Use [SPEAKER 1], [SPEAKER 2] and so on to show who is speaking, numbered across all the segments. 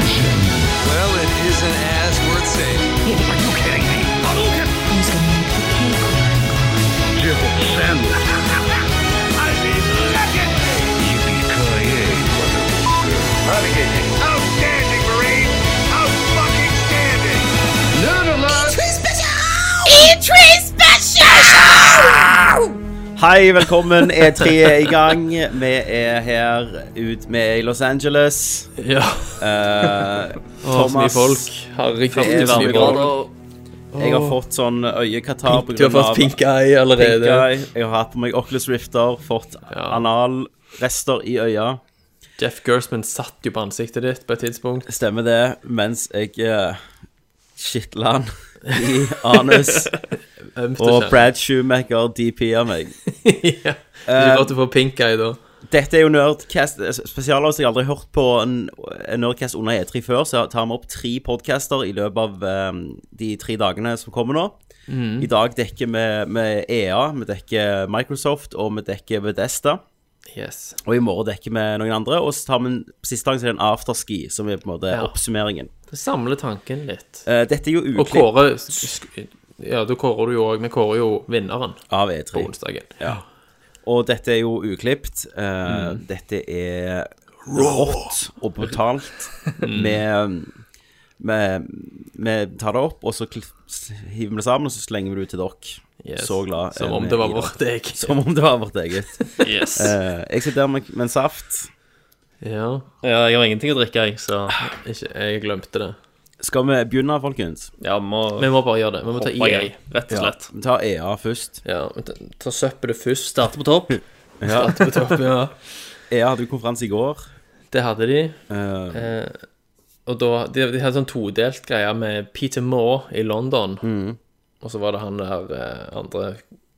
[SPEAKER 1] Well, it isn't as worth saving.
[SPEAKER 2] Are you kidding me? Hadouken!
[SPEAKER 3] Who's gonna make the cake?
[SPEAKER 2] Jibble sandwich. I mean, legendary! Yippee-ki-yay, motherfucker. Outstanding, Marine! Out-fucking-standing! Nerd alert!
[SPEAKER 4] Hei, velkommen. E3 er i gang. Vi er her ut med i Los Angeles.
[SPEAKER 5] Ja.
[SPEAKER 4] Eh,
[SPEAKER 5] Thomas. Sny
[SPEAKER 4] Thomas,
[SPEAKER 5] folk. Herregud,
[SPEAKER 4] Det er
[SPEAKER 5] sny
[SPEAKER 4] veldig
[SPEAKER 5] folk.
[SPEAKER 4] jeg har fått sånn øyekatarr på
[SPEAKER 5] Du har
[SPEAKER 4] grunn
[SPEAKER 5] fått
[SPEAKER 4] av
[SPEAKER 5] pink eye allerede.
[SPEAKER 4] pink eye. Jeg har hatt på meg Oculus Rifter, fått
[SPEAKER 5] Ja.
[SPEAKER 4] analrester i øya.
[SPEAKER 5] Jeff Gersman satt jo på ansiktet ditt på et tidspunkt.
[SPEAKER 4] Stemmer det, mens jeg uh, skitla han i anus.
[SPEAKER 5] Ømt
[SPEAKER 4] og
[SPEAKER 5] kjenne.
[SPEAKER 4] Brad Shoemaker DP-er meg. Eh,
[SPEAKER 5] ja. Det
[SPEAKER 4] Um,
[SPEAKER 5] er ikke godt å få pink eye da.
[SPEAKER 4] Dette er jo Nerdcast eh, spesialavsnitt. Jeg har aldri hørt på en, en Nerdcast under E3 før, så tar vi opp tre podcaster i løpet av eh, de tre dagene som kommer nå.
[SPEAKER 5] Mm.
[SPEAKER 4] I dag dekker vi med EA, vi dekker Microsoft, og vi dekker Vedesta.
[SPEAKER 5] Yes.
[SPEAKER 4] Og i morgen dekker vi noen andre. Og så tar vi en, siste dagen så er det en afterski, som er på en måte
[SPEAKER 5] Ja.
[SPEAKER 4] oppsummeringen.
[SPEAKER 5] Samle tanken litt.
[SPEAKER 4] Eh, dette er jo
[SPEAKER 5] Og
[SPEAKER 4] uklipp
[SPEAKER 5] kåre sk- Ja, du kårer du jo òg. Vi kårer jo vinneren
[SPEAKER 4] av
[SPEAKER 5] på
[SPEAKER 4] E3.
[SPEAKER 5] onsdagen.
[SPEAKER 4] Og dette er jo uklipt. Eh,
[SPEAKER 5] Mm.
[SPEAKER 4] Dette er rått og brutalt.
[SPEAKER 5] Mm.
[SPEAKER 4] Vi tar det opp, og så kl- s- hiver vi det sammen, og så slenger vi det ut til dere.
[SPEAKER 5] Yes.
[SPEAKER 4] Så glad.
[SPEAKER 5] Som
[SPEAKER 4] er
[SPEAKER 5] om
[SPEAKER 4] vi
[SPEAKER 5] det var
[SPEAKER 4] i
[SPEAKER 5] vår deg.
[SPEAKER 4] Som om det var vårt eget.
[SPEAKER 6] Yes.
[SPEAKER 4] Eh, jeg sitter her med, med en saft.
[SPEAKER 5] Ja.
[SPEAKER 6] Ja, jeg har ingenting å drikke, jeg, så
[SPEAKER 5] Ikke, jeg glemte det.
[SPEAKER 4] Skal vi begynne, folkens?
[SPEAKER 6] ja, må
[SPEAKER 5] Vi må bare gjøre det. Vi må ta
[SPEAKER 6] hoppe
[SPEAKER 5] EA.
[SPEAKER 6] i, rett og slett.
[SPEAKER 4] Vi tar EA først.
[SPEAKER 5] Ja, men ta- Ta søppelet først. da.
[SPEAKER 6] Starte på topp.
[SPEAKER 4] Ja.
[SPEAKER 5] På toppen, ja.
[SPEAKER 4] EA hadde jo konferanse i går.
[SPEAKER 5] Det hadde de.
[SPEAKER 4] Eh,
[SPEAKER 5] Og da, de, de hadde sånn todelt greie med Peter Moore i London,
[SPEAKER 4] Mm.
[SPEAKER 5] og så var det han der eh, andre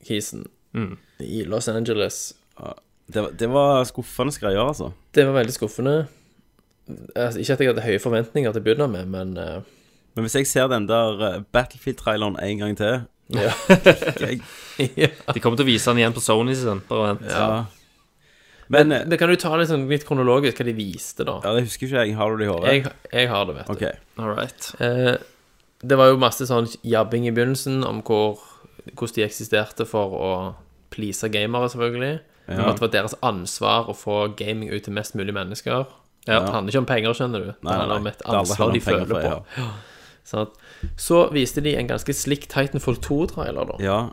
[SPEAKER 5] kisen i Los Angeles.
[SPEAKER 4] det, var- det var skuffende greier, altså.
[SPEAKER 5] Det var veldig skuffende. Altså, ikke at jeg hadde høye forventninger til å begynne med, men eh,
[SPEAKER 4] Men hvis jeg ser den der eh, Battlefield-traileren en gang til
[SPEAKER 5] Ja.
[SPEAKER 4] jeg,
[SPEAKER 6] De kommer til å vise den igjen på Sony sin. Bare vent.
[SPEAKER 4] Ja. Men eh,
[SPEAKER 5] det kan du ta litt, sånn, litt kronologisk hva de viste, da.
[SPEAKER 4] Ja, det husker ikke jeg. Har du det i hodet?
[SPEAKER 5] Jeg, jeg har det, vet
[SPEAKER 4] Ok.
[SPEAKER 5] du.
[SPEAKER 6] All right.
[SPEAKER 5] Eh, det var jo masse sånn jabbing i begynnelsen om hvor, hvordan de eksisterte for å please gamere, selvfølgelig. Og At det var deres ansvar å få gaming ut til mest mulig mennesker. Det handler ikke om penger, skjønner du. Det
[SPEAKER 4] Nei, nei,
[SPEAKER 5] handler om
[SPEAKER 4] nei.
[SPEAKER 5] et
[SPEAKER 4] Det handler
[SPEAKER 5] ansvar
[SPEAKER 4] om
[SPEAKER 5] de
[SPEAKER 4] penger
[SPEAKER 5] føler på.
[SPEAKER 4] for-
[SPEAKER 5] Sånn at- Så viste de en ganske slik Titanfall 2-trailer, da. Ja.
[SPEAKER 4] Ja.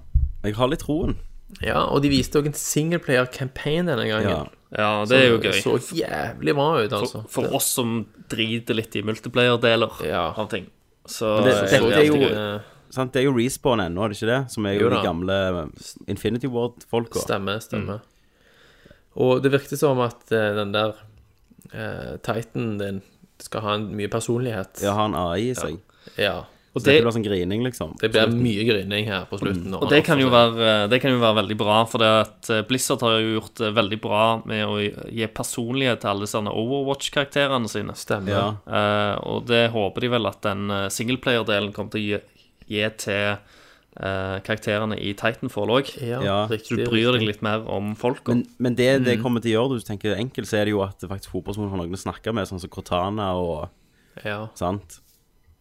[SPEAKER 4] Jeg har litt troen.
[SPEAKER 5] Og de viste òg en singleplayer-campaign denne gangen.
[SPEAKER 4] Ja.
[SPEAKER 6] Ja, det er jo gøy.
[SPEAKER 5] Så jævlig bra ut, altså.
[SPEAKER 6] For, for oss som driter litt i multiplayer-deler
[SPEAKER 5] Ja.
[SPEAKER 6] av ting. Så
[SPEAKER 4] Men det-
[SPEAKER 6] så
[SPEAKER 4] dette er
[SPEAKER 6] alltid
[SPEAKER 4] jo-
[SPEAKER 6] gøy.
[SPEAKER 5] Eh,
[SPEAKER 4] Sant? Det er jo Respawn ennå, er det ikke det? Som er jo,
[SPEAKER 5] Jo da.
[SPEAKER 4] de gamle eh, Infinity Ward-folka.
[SPEAKER 5] Stemmer, stemmer. Og det virket som at eh, den der uh, Titan din skal ha en mye personlighet.
[SPEAKER 4] Ja, har en AI i seg.
[SPEAKER 5] Ja.
[SPEAKER 6] Og
[SPEAKER 4] Det
[SPEAKER 6] det,
[SPEAKER 4] blir sånn grining, liksom.
[SPEAKER 5] Det blir mye grining her på
[SPEAKER 4] Mm.
[SPEAKER 5] slutten.
[SPEAKER 6] og det, kan jo være, eh, det kan jo være veldig bra, for det at eh, Blizzard har jo gjort det veldig bra med å gi personlighet til alle disse Overwatch-karakterene sine.
[SPEAKER 5] Stemmer.
[SPEAKER 4] Ja.
[SPEAKER 6] Eh, og det håper de vel at den eh, singleplayer-delen kommer til å gi, gi til eh, karakterene i Titanfall òg.
[SPEAKER 5] Ja,
[SPEAKER 4] Ja.
[SPEAKER 6] Så
[SPEAKER 5] riktig.
[SPEAKER 6] du bryr deg litt mer om folka.
[SPEAKER 4] Men, men det det kommer til å gjøre, du tenker enkelt, så er det jo at faktisk fotballsmoen har noen å snakke med, sånn som Cortana og
[SPEAKER 5] Ja.
[SPEAKER 4] sant?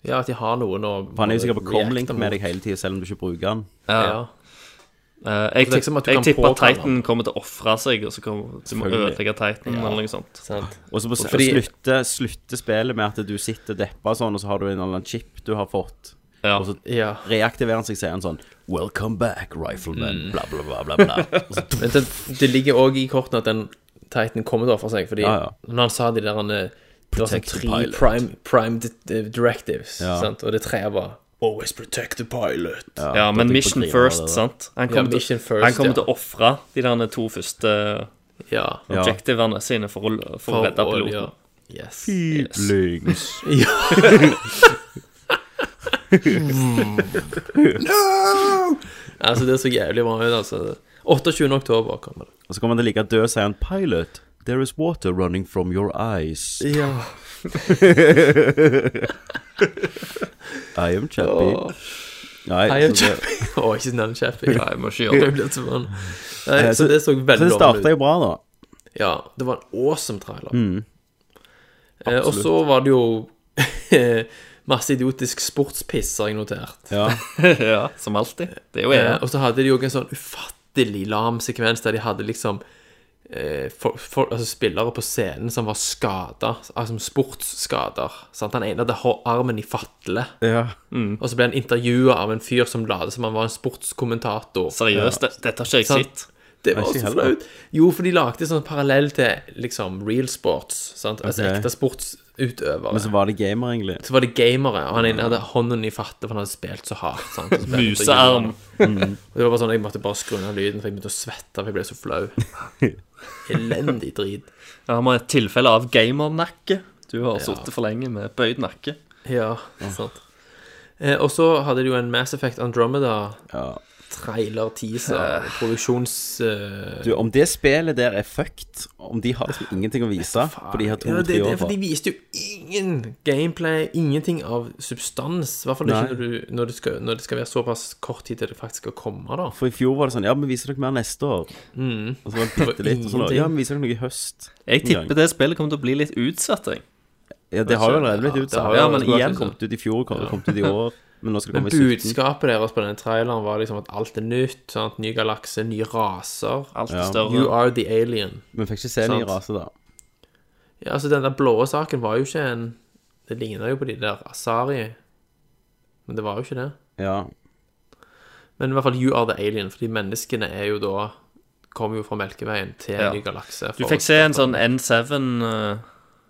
[SPEAKER 5] ja, at de har noen å
[SPEAKER 4] For han er jo sikkert på
[SPEAKER 5] reacte
[SPEAKER 4] comlink
[SPEAKER 5] mot.
[SPEAKER 4] med deg hele tida, selv om du ikke bruker han.
[SPEAKER 6] Ja.
[SPEAKER 5] Ja.
[SPEAKER 6] Eh, jeg,
[SPEAKER 5] det er ikke som at
[SPEAKER 6] tipp-
[SPEAKER 5] du
[SPEAKER 6] jeg
[SPEAKER 5] kan
[SPEAKER 6] tipper at
[SPEAKER 5] påkalle
[SPEAKER 6] Titan kommer til å ofre seg, og så kommer de må
[SPEAKER 4] Selvfølgelig.
[SPEAKER 6] ødelegge Titan eller noe sånt.
[SPEAKER 5] Sant.
[SPEAKER 4] Og så på-
[SPEAKER 5] Og fordi-
[SPEAKER 4] slutter slutter spillet med at du sitter deppa sånn, og så har du en eller annen chip du har fått.
[SPEAKER 6] Ja.
[SPEAKER 4] Og så
[SPEAKER 5] Ja.
[SPEAKER 4] reaktiverer han seg, sier han sånn Welcome back,
[SPEAKER 5] Mm.
[SPEAKER 4] rifleman, bla, bla, bla, bla, bla. Og så
[SPEAKER 5] Men det, det ligger òg i kortene at den Titan kommer til å ofre seg, fordi
[SPEAKER 4] Ja, ja.
[SPEAKER 5] når han sa de der han, eh, Det var sånn
[SPEAKER 4] Protect the
[SPEAKER 5] tre
[SPEAKER 4] pilot.
[SPEAKER 5] prime, prime di- eh, directives,
[SPEAKER 4] Ja.
[SPEAKER 5] sant? og det tredje var Always protect the pilot.
[SPEAKER 6] Ja, men
[SPEAKER 4] det er
[SPEAKER 6] Mission
[SPEAKER 4] på tide,
[SPEAKER 6] First,
[SPEAKER 4] det der.
[SPEAKER 6] sant? Han
[SPEAKER 5] Ja,
[SPEAKER 6] kommer
[SPEAKER 5] Mission
[SPEAKER 6] til,
[SPEAKER 5] First,
[SPEAKER 6] han kommer
[SPEAKER 5] ja.
[SPEAKER 6] til å ofre de der to første
[SPEAKER 5] Ja.
[SPEAKER 4] Ja.
[SPEAKER 6] objektivene sine for å, for å redde
[SPEAKER 5] Og-
[SPEAKER 6] piloten.
[SPEAKER 5] ja. Yes.
[SPEAKER 4] Lyngs.
[SPEAKER 5] Altså, det er så jævlig bra ut, altså. 28. oktober kommer det.
[SPEAKER 4] Og så kommer han til å ligge død og sier han Pilot, there is water running from your eyes.
[SPEAKER 5] Ja.
[SPEAKER 4] I am Chappy. Nei,
[SPEAKER 5] Hei,
[SPEAKER 4] så det,
[SPEAKER 5] Chappy. Å, ikke nevn Chappy.
[SPEAKER 6] Nei, jeg må ikke gjøre det.
[SPEAKER 5] Jeg blir så vann. Nei,
[SPEAKER 4] så-
[SPEAKER 5] så det så
[SPEAKER 4] så
[SPEAKER 5] veldig
[SPEAKER 4] det starta
[SPEAKER 5] lovende ut.
[SPEAKER 4] jo bra, da. Mm.
[SPEAKER 5] Ja, det var en awesome trailer. Eh, og så var det jo masse idiotisk sportspiss, har jeg notert.
[SPEAKER 4] Ja.
[SPEAKER 6] ja, som alltid. Det er jo
[SPEAKER 5] Eh,
[SPEAKER 6] jeg.
[SPEAKER 5] og så hadde de jo en sånn ufattelig lam sekvens der de hadde liksom eh, folk- folk- altså spillere på scenen som var skada, altså sportsskader. Sant? Han ene hadde hå- armen i fatle,
[SPEAKER 4] ja.
[SPEAKER 5] og så ble han intervjua av en fyr som la det som han var en sportskommentator.
[SPEAKER 6] Seriøst, det- dette har ikke jeg
[SPEAKER 5] Sant.
[SPEAKER 6] sett.
[SPEAKER 5] Det var
[SPEAKER 4] Ikke
[SPEAKER 5] så
[SPEAKER 4] heller.
[SPEAKER 5] flaut. Jo, for de lagde sånn parallell til liksom real sports. Sant? Altså
[SPEAKER 4] Ok.
[SPEAKER 5] ekte sportsutøvere.
[SPEAKER 4] Men så var det gamer, egentlig.
[SPEAKER 5] Så var det gamere, og han ene hadde hånden i fattet, for han hadde spilt så hardt. sant? Og så ble jeg nødt til å gjøre
[SPEAKER 6] Musearm.
[SPEAKER 5] det. Og det var bare sånn, Jeg måtte bare skru ned lyden, for jeg begynte å svette, for jeg ble så flau. Elendig drit.
[SPEAKER 6] Ja, vi har et tilfelle av gamernakke. Du har
[SPEAKER 5] Ja.
[SPEAKER 6] sittet for lenge med bøyd nakke.
[SPEAKER 5] Ja, sant. Eh, og så hadde de jo en Mass Effect Andromeda-trailer,
[SPEAKER 4] Ja.
[SPEAKER 5] teaser, produksjons... eh,
[SPEAKER 4] Du, om det spillet der er fucked, om de har liksom ingenting å vise på de her
[SPEAKER 5] ja,
[SPEAKER 4] to-tre
[SPEAKER 5] det, det, for de
[SPEAKER 4] åra
[SPEAKER 5] viste jo ingen gameplay, ingenting av substans. I hvert fall
[SPEAKER 4] Nei.
[SPEAKER 5] ikke når, du, når, det skal, når det skal være såpass kort tid til det faktisk skal komme, da.
[SPEAKER 4] For i fjor var det sånn Ja, men viser dere mer neste år? Og så var det bitte litt. Og sånn,
[SPEAKER 5] Mm. Ingenting.
[SPEAKER 4] ja, men viser dere noe i høst?
[SPEAKER 6] Jeg
[SPEAKER 4] En gang.
[SPEAKER 6] tipper det spillet kommer til å bli litt utsatt. Jeg.
[SPEAKER 4] Ja, det har jo allerede blitt
[SPEAKER 5] Ja, det
[SPEAKER 4] utsatt.
[SPEAKER 5] har jo-
[SPEAKER 4] Ja, men
[SPEAKER 5] det skulle
[SPEAKER 4] igjen
[SPEAKER 5] vært
[SPEAKER 4] kommet ut i fjor, kom- kommet ut i år. Men nå skal det
[SPEAKER 5] Men
[SPEAKER 4] komme i 17.
[SPEAKER 5] budskapet deres på denne traileren var liksom at alt er nytt. Sant? Ny galakse, nye raser.
[SPEAKER 6] Alt er
[SPEAKER 4] Ja.
[SPEAKER 5] You
[SPEAKER 6] større.
[SPEAKER 5] are the alien.
[SPEAKER 4] Men fikk ikke se ny
[SPEAKER 6] Sant.
[SPEAKER 4] rase, da.
[SPEAKER 5] Ja, altså Den der blå saken var jo ikke en Det ligna jo på de der Asari. Men det var jo ikke det.
[SPEAKER 4] Ja.
[SPEAKER 5] Men i hvert fall You are the alien, fordi menneskene er jo da Kommer jo fra Melkeveien til en
[SPEAKER 6] Ja.
[SPEAKER 5] ny galakse.
[SPEAKER 6] Du
[SPEAKER 5] for
[SPEAKER 6] fikk
[SPEAKER 5] å-
[SPEAKER 6] se en sånn eh, N7-drakt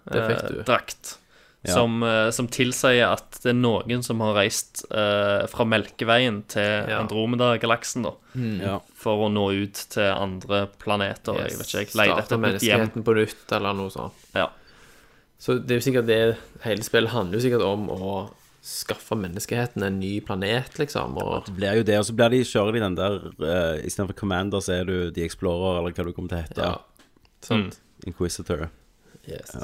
[SPEAKER 5] Det fikk du.
[SPEAKER 4] Ja.
[SPEAKER 6] Eh, som, eh, som tilsier at det er noen som har reist eh, fra Melkeveien til
[SPEAKER 5] Ja.
[SPEAKER 6] Andromeda-galaksen da,
[SPEAKER 5] Mm.
[SPEAKER 4] ja.
[SPEAKER 6] for å nå ut til andre planeter. Jeg vet ikke, jeg leide etter
[SPEAKER 5] Starter
[SPEAKER 6] et nytt hjem.
[SPEAKER 5] menneskeheten på nytt, eller noe sånt.
[SPEAKER 6] Ja.
[SPEAKER 5] Så det er jo sikkert det hele spillet handler jo sikkert om å skaffe menneskeheten en ny planet, liksom. Og
[SPEAKER 4] Det blir jo det. Og så blir de, kjører de den der uh, Istedenfor Commander, så er du The Explorer, eller hva du kommer til å hete.
[SPEAKER 5] Ja. Sant.
[SPEAKER 4] Inquisitor.
[SPEAKER 6] Mm.
[SPEAKER 5] Yes.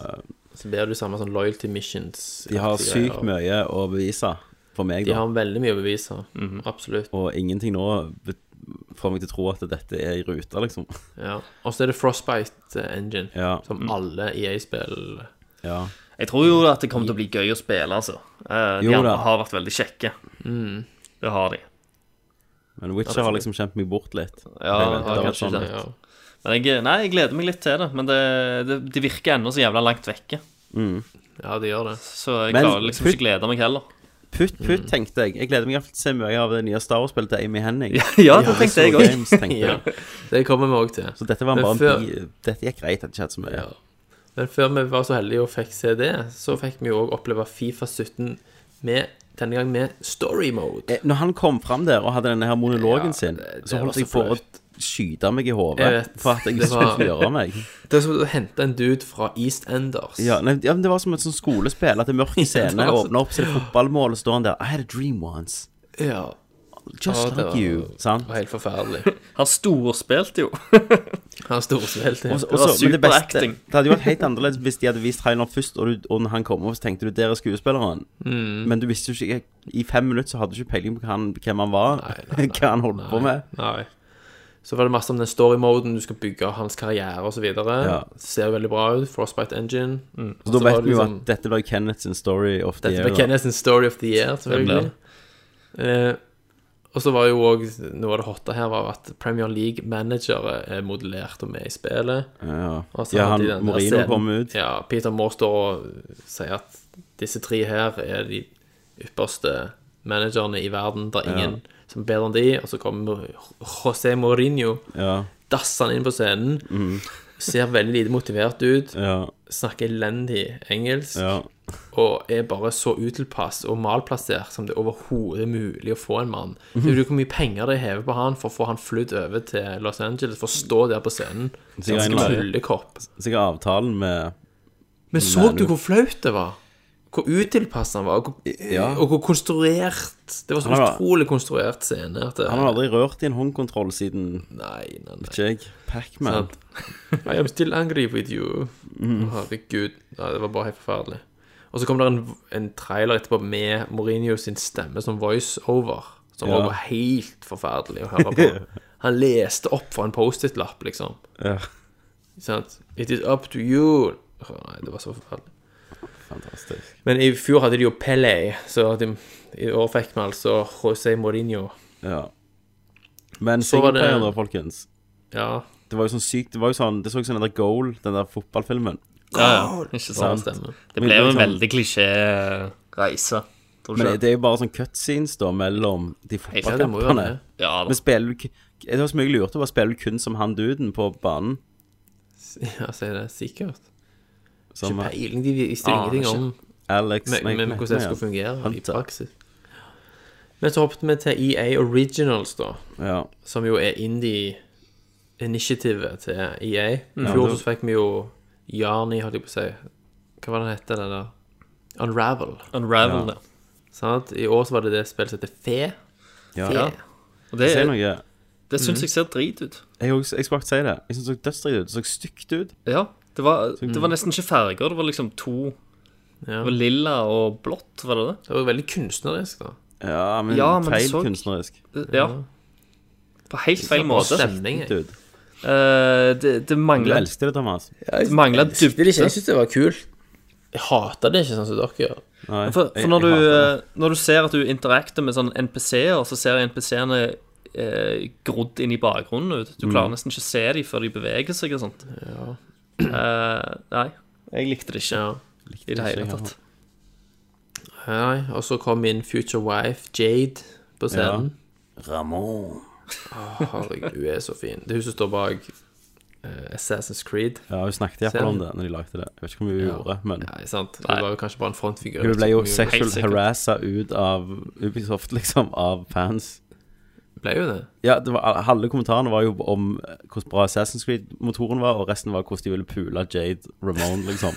[SPEAKER 5] så blir det jo samme sånn loyalty missions.
[SPEAKER 4] De har sykt mye å bevise for meg,
[SPEAKER 5] De
[SPEAKER 4] da.
[SPEAKER 5] har veldig mye å bevise.
[SPEAKER 6] Mhm.
[SPEAKER 5] Absolutt.
[SPEAKER 4] Og ingenting nå be- får meg til å tro at dette er i rute, liksom.
[SPEAKER 5] Ja. Og så er det Frostbite eh, Engine,
[SPEAKER 4] Ja.
[SPEAKER 6] Mm.
[SPEAKER 5] som alle E EA-spill
[SPEAKER 4] ja.
[SPEAKER 6] Jeg tror jo at det kommer til å bli gøy å spille, altså. Eh, de
[SPEAKER 4] Jo
[SPEAKER 6] andre
[SPEAKER 4] da.
[SPEAKER 6] har vært veldig kjekke.
[SPEAKER 5] Mm.
[SPEAKER 6] Det har de.
[SPEAKER 4] Men Witcher har liksom kjent meg bort litt.
[SPEAKER 6] Ja,
[SPEAKER 4] Jeg
[SPEAKER 6] det
[SPEAKER 4] vet,
[SPEAKER 6] har
[SPEAKER 4] det var
[SPEAKER 6] kanskje
[SPEAKER 4] sånn.
[SPEAKER 6] det.
[SPEAKER 5] ja.
[SPEAKER 6] Men jeg, nei, jeg gleder meg litt til det. Men det, det, det virker ennå så jævla langt vekke.
[SPEAKER 5] ja, de gjør det.
[SPEAKER 6] Så jeg
[SPEAKER 4] Men-
[SPEAKER 6] klarer liksom ikke å glede meg heller.
[SPEAKER 4] Putt,
[SPEAKER 5] Mm.
[SPEAKER 4] putt, tenkte jeg. Jeg gleder meg i hvert fall til å se mye av det nye Star Wars-spillet til Amy Henning.
[SPEAKER 6] Ja, det tenkte jeg
[SPEAKER 4] Visceral
[SPEAKER 6] òg.
[SPEAKER 4] Games, tenkte
[SPEAKER 5] Ja.
[SPEAKER 4] jeg.
[SPEAKER 5] Det kommer vi òg til.
[SPEAKER 4] Så dette var
[SPEAKER 5] Men
[SPEAKER 4] bare en
[SPEAKER 5] før-
[SPEAKER 4] bi... Dette gikk greit, det hadde ikke skjedd så mye.
[SPEAKER 5] Ja. Men før vi var så heldige og fikk se det, så fikk vi jo òg oppleve Fifa 17 med denne gang med story mode.
[SPEAKER 4] Eh, Når han kom fram der og hadde denne her monologen
[SPEAKER 5] Ja,
[SPEAKER 4] sin,
[SPEAKER 5] det- det
[SPEAKER 4] så
[SPEAKER 5] var
[SPEAKER 4] holdt
[SPEAKER 5] så
[SPEAKER 4] jeg på å
[SPEAKER 5] flaut.
[SPEAKER 4] skyte meg i
[SPEAKER 5] Jeg
[SPEAKER 4] hodet
[SPEAKER 5] vet.
[SPEAKER 4] for at jeg
[SPEAKER 5] Det
[SPEAKER 4] ikke skulle
[SPEAKER 5] var-
[SPEAKER 4] røre meg.
[SPEAKER 5] Det er som å hente en dude fra East Enders.
[SPEAKER 4] Ja, nei, ja, men Det var som et sånn skolespill. At det er mørk i
[SPEAKER 5] Ja, det
[SPEAKER 4] scenen,
[SPEAKER 5] var så-
[SPEAKER 4] åpner opp, så er det fotballmål, og står han der I had a dream once.
[SPEAKER 5] Ja.
[SPEAKER 4] Just
[SPEAKER 5] Ja, det
[SPEAKER 4] like
[SPEAKER 5] var-
[SPEAKER 4] you.
[SPEAKER 5] Det
[SPEAKER 4] Sant?
[SPEAKER 5] var helt forferdelig.
[SPEAKER 6] Han storspilte jo.
[SPEAKER 5] Han storspilte.
[SPEAKER 4] Og så-
[SPEAKER 6] var
[SPEAKER 4] og så- Altså, men det beste-
[SPEAKER 6] superacting.
[SPEAKER 4] Det hadde jo vært helt annerledes hvis de hadde vist traileren først, og, du, og når han kom over, så tenkte du der er skuespilleren.
[SPEAKER 5] Mm.
[SPEAKER 4] Men du visste jo ikke I fem minutter så hadde du ikke peiling på hva han, hvem han var, hva han holdt på med.
[SPEAKER 5] Nei. Så var det masse om den story-moden, du skal bygge hans karriere osv.
[SPEAKER 4] Ja.
[SPEAKER 5] Ser jo veldig bra ut. Frostbite Engine. Og
[SPEAKER 4] Så da
[SPEAKER 5] var
[SPEAKER 4] vet
[SPEAKER 5] det
[SPEAKER 4] vi jo
[SPEAKER 5] liksom-
[SPEAKER 4] at dette ble Kenneths story of the
[SPEAKER 5] Dette
[SPEAKER 4] year.
[SPEAKER 5] ble
[SPEAKER 4] da.
[SPEAKER 5] Kenneths story of the year, selvfølgelig. Eh, og så var jo òg noe av det hotte her var at Premier League-managere er modellert og med i spillet.
[SPEAKER 4] Ja,
[SPEAKER 5] Og så
[SPEAKER 4] ja
[SPEAKER 5] hadde de
[SPEAKER 4] han
[SPEAKER 5] den der
[SPEAKER 4] Morino
[SPEAKER 5] scenen-
[SPEAKER 4] kom ut.
[SPEAKER 5] Ja, Peter Moore står og sier at disse tre her er de ypperste managerne i verden. Det er ingen som er bedre enn de. Og så kommer José Mourinho.
[SPEAKER 4] Ja,
[SPEAKER 5] dasser han inn på scenen. Ser veldig lite motivert ut,
[SPEAKER 4] Mhm. ja,
[SPEAKER 5] snakker elendig engelsk
[SPEAKER 4] ja.
[SPEAKER 5] og er bare så utilpass og malplassert som det overhodet er mulig å få en mann.
[SPEAKER 4] Mhm.
[SPEAKER 5] Det er jo hvor mye penger de hever på han for å få han flydd over til Los Angeles for å stå der på scenen.
[SPEAKER 4] Sikkert en
[SPEAKER 5] Ganske
[SPEAKER 4] eller
[SPEAKER 5] tullekopp.
[SPEAKER 4] Sikkert avtalen med
[SPEAKER 5] Men så du hvor flaut det var? Hvor utilpass han var, og hvor,
[SPEAKER 4] Ja.
[SPEAKER 5] og hvor konstruert Det var så
[SPEAKER 4] Han har-
[SPEAKER 5] utrolig konstruert scene. At det,
[SPEAKER 4] Han har aldri rørt i en håndkontroll siden
[SPEAKER 5] Nei, nei, nei.
[SPEAKER 4] ikke jeg. Pac-Man.
[SPEAKER 5] Sant. I am still angry with you.
[SPEAKER 4] Mm.
[SPEAKER 5] Herregud. Ja, det var bare helt forferdelig. Og så kom det en, en trailer etterpå med Mourinho sin stemme som voiceover. Som
[SPEAKER 4] Ja.
[SPEAKER 5] også var helt forferdelig å høre på. Han leste opp fra en Post-It-lapp, liksom.
[SPEAKER 4] Ja.
[SPEAKER 5] Sant? It is up to you. Åh, Nei, det var så forferdelig.
[SPEAKER 4] Fantastisk.
[SPEAKER 5] Men i fjor hadde de jo Pele, så de, i år fikk vi altså José Mourinho.
[SPEAKER 4] Ja. Men
[SPEAKER 5] Så var det-
[SPEAKER 4] singleplayer, da, folkens.
[SPEAKER 5] Ja,
[SPEAKER 4] Det var jo sånn sykt Det var jo sånn Det så ut som den der Goal, den der fotballfilmen.
[SPEAKER 6] Ja, ja, ikke
[SPEAKER 5] det
[SPEAKER 6] sant.
[SPEAKER 5] stemmer.
[SPEAKER 6] Det sånn ble jo en
[SPEAKER 4] Men-
[SPEAKER 6] veldig klisjé-reise. Tror du
[SPEAKER 4] Men
[SPEAKER 6] ikke det?
[SPEAKER 4] det er jo bare sånn cutscenes da mellom de
[SPEAKER 5] Ja, det må jo være
[SPEAKER 4] fotballkampene.
[SPEAKER 5] det.
[SPEAKER 6] Ja da.
[SPEAKER 4] Men spiller du k- Det var så mye jeg lurte på. Spiller du kun som han duden på banen?
[SPEAKER 5] Ja, så er det sikkert.
[SPEAKER 4] Som Ah,
[SPEAKER 5] Ikke peiling, de visste jo
[SPEAKER 6] Aner
[SPEAKER 5] ingenting
[SPEAKER 6] ikke.
[SPEAKER 5] om
[SPEAKER 4] Alex
[SPEAKER 5] med,
[SPEAKER 4] nei,
[SPEAKER 5] med,
[SPEAKER 4] nei,
[SPEAKER 5] hvordan det
[SPEAKER 4] nei,
[SPEAKER 5] skulle fungere i
[SPEAKER 4] Hunter.
[SPEAKER 5] praksis. Men så hoppet vi til EA Originals, da,
[SPEAKER 4] Ja.
[SPEAKER 5] som jo er indie-initiativet til EA. I fjor
[SPEAKER 4] det-
[SPEAKER 5] så fikk vi jo Jarni, holdt jeg på å si. Hva var det den het, den der? Unravel.
[SPEAKER 6] Unravel det.
[SPEAKER 5] Sant? I år så var det det spillet som heter Fe.
[SPEAKER 4] ja.
[SPEAKER 5] Fe.
[SPEAKER 4] ja.
[SPEAKER 6] Og det,
[SPEAKER 4] Si noe. Jeg,
[SPEAKER 6] det syns jeg ser drit ut.
[SPEAKER 4] også- jeg skulle akkurat si det. Jeg syns det så dødsdritt ut. Det så stygt ut.
[SPEAKER 6] Ja. Det var, det var nesten ikke farger. Det var liksom to
[SPEAKER 5] Ja.
[SPEAKER 6] Det var lilla og blått, var det det?
[SPEAKER 5] Det var jo veldig kunstnerisk, da.
[SPEAKER 4] Ja, men,
[SPEAKER 6] Ja, men det
[SPEAKER 4] feil
[SPEAKER 6] så-
[SPEAKER 4] kunstnerisk.
[SPEAKER 6] Ja. På helt feil måte.
[SPEAKER 5] Stemning. jeg.
[SPEAKER 4] Dude.
[SPEAKER 6] Eh, det det
[SPEAKER 4] Du
[SPEAKER 6] mangla
[SPEAKER 4] elsket det, Thomas.
[SPEAKER 5] Jeg
[SPEAKER 6] dybde.
[SPEAKER 5] likte det ikke, jeg syntes det var kult. Jeg hater det ikke sånn som dere gjør.
[SPEAKER 4] Nei,
[SPEAKER 6] For,
[SPEAKER 4] jeg-
[SPEAKER 6] for når,
[SPEAKER 4] jeg
[SPEAKER 6] du,
[SPEAKER 4] hater det.
[SPEAKER 6] eh, når du ser at du interakter med sånn sånne NPC-er, så ser NPC-ene eh, grodd inn i bakgrunnen ut. Du klarer
[SPEAKER 5] Mm.
[SPEAKER 6] nesten ikke å se dem før de beveger seg og sånt. Eh, nei, jeg likte det ikke i det hele
[SPEAKER 4] ikke,
[SPEAKER 6] tatt.
[SPEAKER 5] Nei, og så kom min future wife, Jade, på scenen.
[SPEAKER 4] Ramon.
[SPEAKER 6] eh,
[SPEAKER 5] Herregud, hun er så fin. Det er hun som står bak eh, Assassin's Creed.
[SPEAKER 4] Ja, hun snakket
[SPEAKER 5] Ser
[SPEAKER 4] iallfall om
[SPEAKER 5] du?
[SPEAKER 4] det når de lagde det. Jeg vet ikke hvor mye hun gjorde, men
[SPEAKER 5] Nei, sant? Hun
[SPEAKER 6] Nei.
[SPEAKER 5] var jo kanskje bare en frontfigur.
[SPEAKER 4] hun ble jo
[SPEAKER 6] Helt
[SPEAKER 4] sexual
[SPEAKER 6] sikkert.
[SPEAKER 4] harassa ut av Ubisoft, liksom, av fans.
[SPEAKER 5] Ble jo det.
[SPEAKER 4] Ja, det var, Halve kommentarene var jo om hvordan bra Assassin's Creed-motoren var, og resten var hvordan de ville pule Jade Ramone, liksom.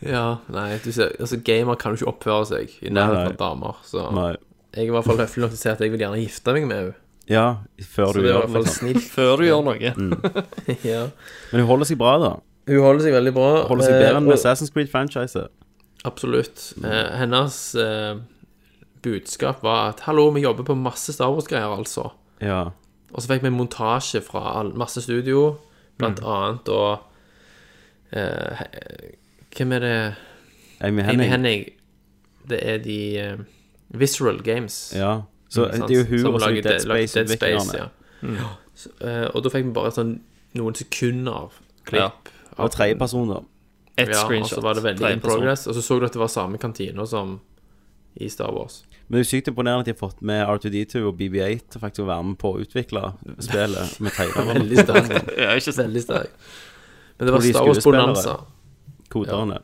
[SPEAKER 5] Ja, nei, du ser, altså gamer kan jo ikke oppføre seg i
[SPEAKER 4] nei.
[SPEAKER 5] nærheten av damer, så
[SPEAKER 4] Nei.
[SPEAKER 5] jeg er i hvert fall høflig nok til å si at jeg vil gjerne gifte meg med henne.
[SPEAKER 4] Ja, før
[SPEAKER 5] Så
[SPEAKER 4] du
[SPEAKER 5] det er i
[SPEAKER 4] gjør
[SPEAKER 5] hvert
[SPEAKER 4] det,
[SPEAKER 5] fall
[SPEAKER 4] liksom.
[SPEAKER 5] snilt.
[SPEAKER 6] Før du gjør noe.
[SPEAKER 5] ja.
[SPEAKER 4] Men hun holder seg bra, da.
[SPEAKER 5] Hun holder seg veldig bra.
[SPEAKER 4] Holder seg
[SPEAKER 5] eh,
[SPEAKER 4] bedre enn
[SPEAKER 5] og-
[SPEAKER 4] Assassin's Creed-franchiset.
[SPEAKER 5] Absolutt.
[SPEAKER 4] Mm.
[SPEAKER 5] Eh, hennes eh, budskap var at hallo, vi jobber på masse Star Wars-greier, altså.
[SPEAKER 4] Ja.
[SPEAKER 5] Og så fikk vi en montasje fra all, masse studio, blant
[SPEAKER 4] Mm.
[SPEAKER 5] annet og eh, he- Hvem er det
[SPEAKER 4] Amy
[SPEAKER 5] Amy
[SPEAKER 4] Henning.
[SPEAKER 5] Henning. Det er de eh, Visceral Games. Mm,
[SPEAKER 4] Ja. Så
[SPEAKER 5] sant?
[SPEAKER 4] det er jo hun
[SPEAKER 5] Som
[SPEAKER 4] og så
[SPEAKER 5] lager
[SPEAKER 4] Dead
[SPEAKER 5] De- lager
[SPEAKER 4] Space-utviklerne.
[SPEAKER 5] ja.
[SPEAKER 4] Mm.
[SPEAKER 5] Så, eh, og da fikk vi bare sånn noen sekunder klipp.
[SPEAKER 4] Og tredjeperson, da.
[SPEAKER 6] Ett
[SPEAKER 5] Ja, og
[SPEAKER 6] screenshot.
[SPEAKER 5] så var det veldig
[SPEAKER 6] Tredje
[SPEAKER 5] in
[SPEAKER 6] person.
[SPEAKER 5] progress. Og så så du at det var samme kantina som i Star Wars.
[SPEAKER 4] Men det er jo sykt imponerende at de har fått med R2D2 og BB8 til faktisk å være med på å utvikle spillet med tegnerne
[SPEAKER 5] Veldig sterk.
[SPEAKER 6] Ja, ikke sant.
[SPEAKER 5] Veldig sterk. Men det var
[SPEAKER 4] Og de
[SPEAKER 5] Star Wars
[SPEAKER 4] skuespillere.
[SPEAKER 5] Bonanza.
[SPEAKER 4] koderne.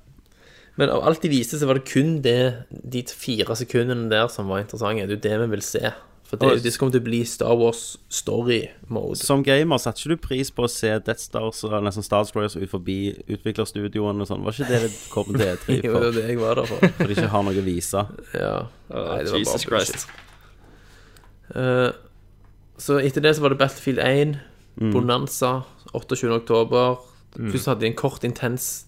[SPEAKER 5] Men av alt de viste, så var det kun det, de fire sekundene der som var interessante. Det er jo det vi vil se. For det, er jo det som kommer til å bli Star Wars story-mode.
[SPEAKER 4] Som gamer satte ikke du pris på å se Death Stars og nesten Star Destroyers ut forbi utviklerstudioene og sånn? Var ikke det det kom til E3
[SPEAKER 5] Jo, det
[SPEAKER 4] for?
[SPEAKER 5] var det jeg var der for.
[SPEAKER 4] For de ikke har noe å vise?
[SPEAKER 5] Ja. Nei, det var
[SPEAKER 6] Jesus
[SPEAKER 5] bare
[SPEAKER 6] Christ.
[SPEAKER 5] Eh, Så etter det så var det Battlefield 1, Mm. Bonanza, 28. oktober. Først hadde de en kort, intens